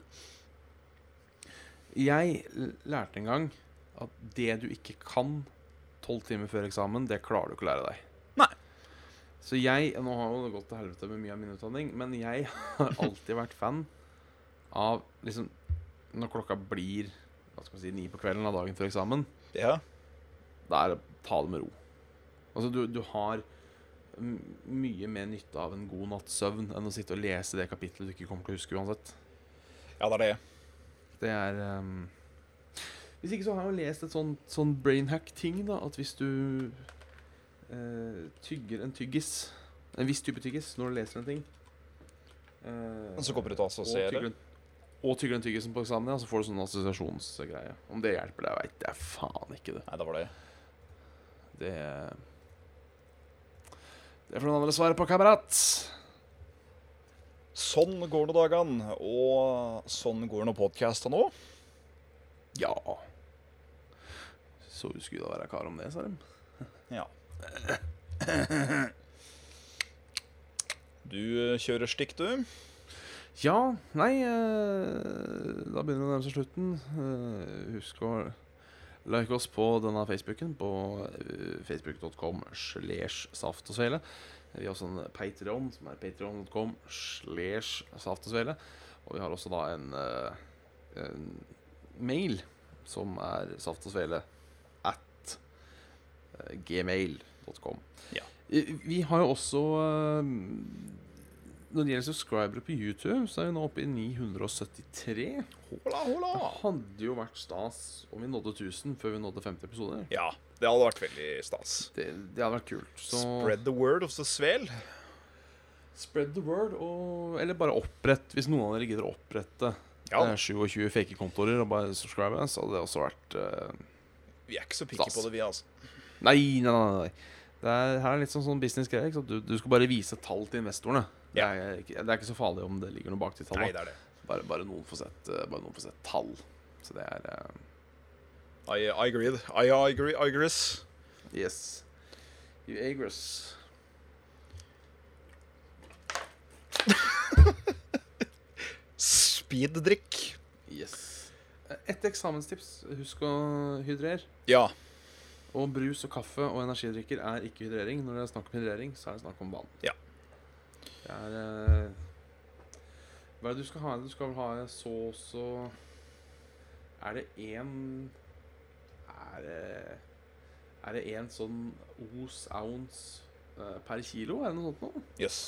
Speaker 1: Jeg l- lærte en gang at det du ikke kan tolv timer før eksamen, det klarer du ikke å lære deg.
Speaker 2: Nei.
Speaker 1: Så jeg Nå har jo det gått til helvete med mye av min utdanning, men jeg har alltid vært fan av liksom Når klokka blir hva skal man si, ni på kvelden av dagen før eksamen,
Speaker 2: Ja.
Speaker 1: da er det ta det med ro. Altså, du, du har m- mye mer nytte av en god natts søvn enn å sitte og lese det kapitlet du ikke kommer til å huske uansett.
Speaker 2: ja, det er det.
Speaker 1: Det er ehm, Hvis ikke så har jeg jo lest et sånn, sånn brainhack-ting, da. At hvis du eh, tygger en tyggis En viss type tyggis når du leser en ting eh,
Speaker 2: Så kommer du til å
Speaker 1: og
Speaker 2: assosiere.
Speaker 1: tygger en- Og tygger den tyggisen på eksamen, ja, så får du sånn assosiasjonsgreie. Om det hjelper, det veit jeg faen ikke. Det
Speaker 2: Nei, det var det.
Speaker 1: Det, det får noen andre svare på, kamerat.
Speaker 2: Sånn går nå dagene, og sånn går nå podkasta nå.
Speaker 1: Ja. Så skulle det være kar om det, sa de.
Speaker 2: Ja. Du eh, kjører stikk, du.
Speaker 1: Ja, nei eh, Da begynner det å nærme seg slutten. Eh, Husk å like oss på denne Facebooken på eh, facebook.com slash saft og svele. Vi har også en Patreon som er patreon.com slash saft og svele. Og vi har også da en, eh, en mail som er saft og svele at eh, gmail.com.
Speaker 2: Ja.
Speaker 1: Eh, Vi har jo også eh, når det gjelder subscribere på YouTube, så er vi nå oppe i 973.
Speaker 2: Hola, hola.
Speaker 1: Det hadde jo vært stas om vi nådde 1000 før vi nådde 50 episoder.
Speaker 2: Ja, det hadde vært veldig stas.
Speaker 1: Det, det hadde vært kult. Så
Speaker 2: Spread the word of the svel.
Speaker 1: spread the word, og, eller bare opprett, hvis noen av dere gidder å opprette
Speaker 2: Ja,
Speaker 1: eh, 27 fake kontorer og bare subscribe, så hadde det også vært eh,
Speaker 2: vi er ikke så picky
Speaker 1: stas.
Speaker 2: på det, vi, altså.
Speaker 1: Nei, nei, nei. nei. Det er, her er litt sånn, sånn businessgreie. ikke sant? Du, du skal bare vise tall til investorene. Det
Speaker 2: Ja.
Speaker 1: er, ikke- det er ikke så farlig om det ligger noe bak de
Speaker 2: Nei,
Speaker 1: tallene.
Speaker 2: det er det.
Speaker 1: Bare, bare noen får sett, eh, bare noen får sett tall. Så det er eh,
Speaker 2: I, I agreed. I, I agree, I agrees.
Speaker 1: Yes. You agress.
Speaker 2: Speeddrikk.
Speaker 1: Yes. Et eksamenstips. Husk å hydrere.
Speaker 2: Ja.
Speaker 1: Og brus og kaffe og energidrikker er ikke hydrering. Når det er snakk om hydrering, så er det snakk om vann.
Speaker 2: Ja.
Speaker 1: Det er eh, Hva er det du skal ha? Du skal vel ha så så Er det én Er det Er det én sånn os, ounce eh, per kilo? Er det noe sånt noe?
Speaker 2: Jøss.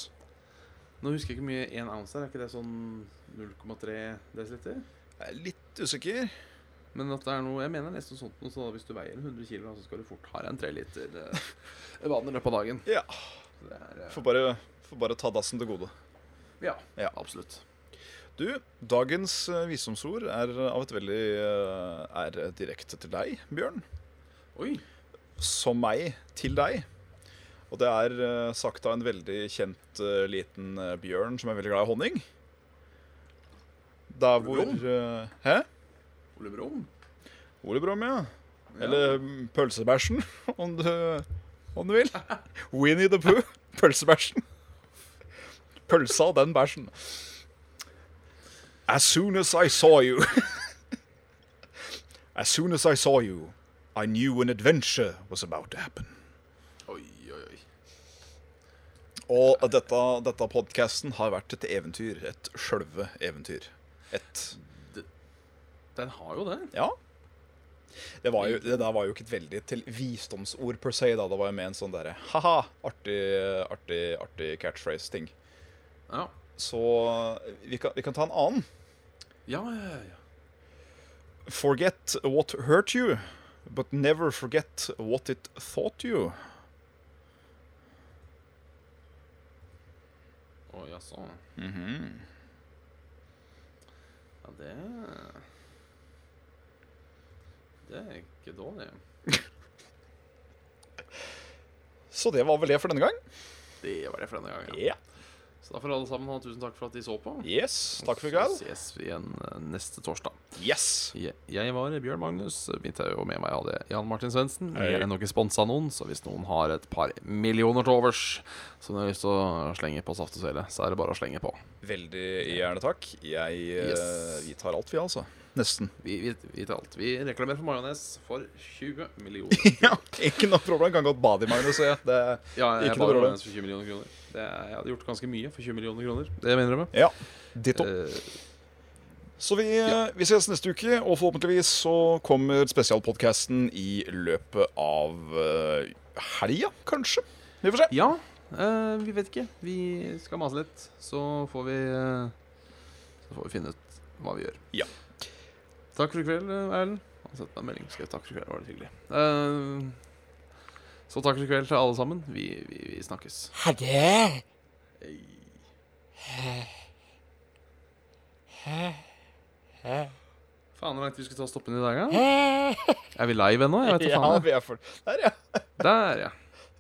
Speaker 1: Nå husker jeg ikke hvor mye én ounce er. Er ikke det sånn 0,3 desiliter?
Speaker 2: Jeg er litt usikker.
Speaker 1: Men at det er noe Jeg mener nesten sånt noe, så da hvis du veier 100 kg, så skal du fort ha deg en 3 liter eh, vann i løpet av dagen.
Speaker 2: Ja.
Speaker 1: Så Det er, eh,
Speaker 2: Får bare, får bare ta dassen til gode.
Speaker 1: ja,
Speaker 2: Ja.
Speaker 1: absolutt.
Speaker 2: Du, dagens eh, visdomsord er av et veldig eh, Er direkte til deg, Bjørn.
Speaker 1: Oi.
Speaker 2: som meg til deg. Og det er eh, sagt av en veldig kjent eh, liten eh, bjørn som er veldig glad i honning. Der hvor
Speaker 1: Brom?
Speaker 2: eh, Hæ?
Speaker 1: Ole Brumm?
Speaker 2: Ole Brumm, ja. Eller mm, pølsebæsjen, om du, om du vil. Winnie the Pooh. Pølsebæsjen. Pølsa og den bæsjen. As soon as I saw you As soon as I saw you, I knew an adventure was about to happen.
Speaker 1: Oi, oi, oi.
Speaker 2: Og dette, dette podkasten har vært et eventyr. Et sjølve eventyr. Et
Speaker 1: Den har jo det.
Speaker 2: Ja. Det, var jo, det der var jo ikke et veldig til visdomsord per se. da Det var jo med en sånn derre ha-ha, artig, artig, artig catchphrase-ting.
Speaker 1: Ja,
Speaker 2: Så vi kan, vi kan ta en annen.
Speaker 1: ja, ja. ja, ja.
Speaker 2: Forget what hurt you, but never forget what it thought you.
Speaker 1: Å, sånn. jaså.
Speaker 2: Mhm.
Speaker 1: Ja, det Det er ikke dårlig.
Speaker 2: Så det var vel det for denne gang.
Speaker 1: Det var det for denne gangen.
Speaker 2: Ja.
Speaker 1: Så da får alle sammen ha tusen takk for at de så på.
Speaker 2: Yes. Takk for i kveld.
Speaker 1: Så ses vi igjen eh, neste torsdag.
Speaker 2: Yes.
Speaker 1: Jeg, jeg var Bjørn Magnus. Mitt er jo med meg hadde Jan Martin Svendsen.
Speaker 2: Hei.
Speaker 1: Jeg er nok ikke sponsa av noen, så hvis noen har et par millioner til overs som de har lyst til å slenge på Saft og Svele, så er det bare å slenge på.
Speaker 2: Veldig gjerne takk. Jeg eh,
Speaker 1: Yes.
Speaker 2: Vi tar alt, vi, altså. Nesten.
Speaker 1: Vi, vi, vi tar alt. Vi reklamerer for majones for 20 millioner.
Speaker 2: Ja, ikke noe problem. Kan godt bade i majones. jeg. Det-
Speaker 1: Ja, jeg
Speaker 2: Ikke noe
Speaker 1: bare
Speaker 2: problem.
Speaker 1: majones for 20 millioner kroner. Det er, jeg hadde gjort ganske mye for 20 millioner kroner. Det må jeg innrømme.
Speaker 2: Ja. Ditto.
Speaker 1: Eh,
Speaker 2: Så vi, eh, vi ses neste uke, og forhåpentligvis så kommer spesialpodkasten i løpet av eh, helga, kanskje. Vi får se.
Speaker 1: ja, eh, vi vet ikke. Vi skal mase litt, så får vi eh, Så får vi finne ut hva vi gjør.
Speaker 2: Ja.
Speaker 1: Takk for i kveld, eh, Erlend. Han sendte meg en melding. Skrev takk for i kveld. Det var litt hyggelig. Eh, så takk for i kveld til alle sammen. Vi, vi, vi snakkes.
Speaker 4: Ha det.
Speaker 1: Hei. Faen, hvor langt vi skulle ta stoppen i dag, da? Er vi live ennå? Jeg vet ikke
Speaker 2: Ja,
Speaker 1: faen. jeg.
Speaker 2: vi er for... Der, ja.
Speaker 1: Der, ja.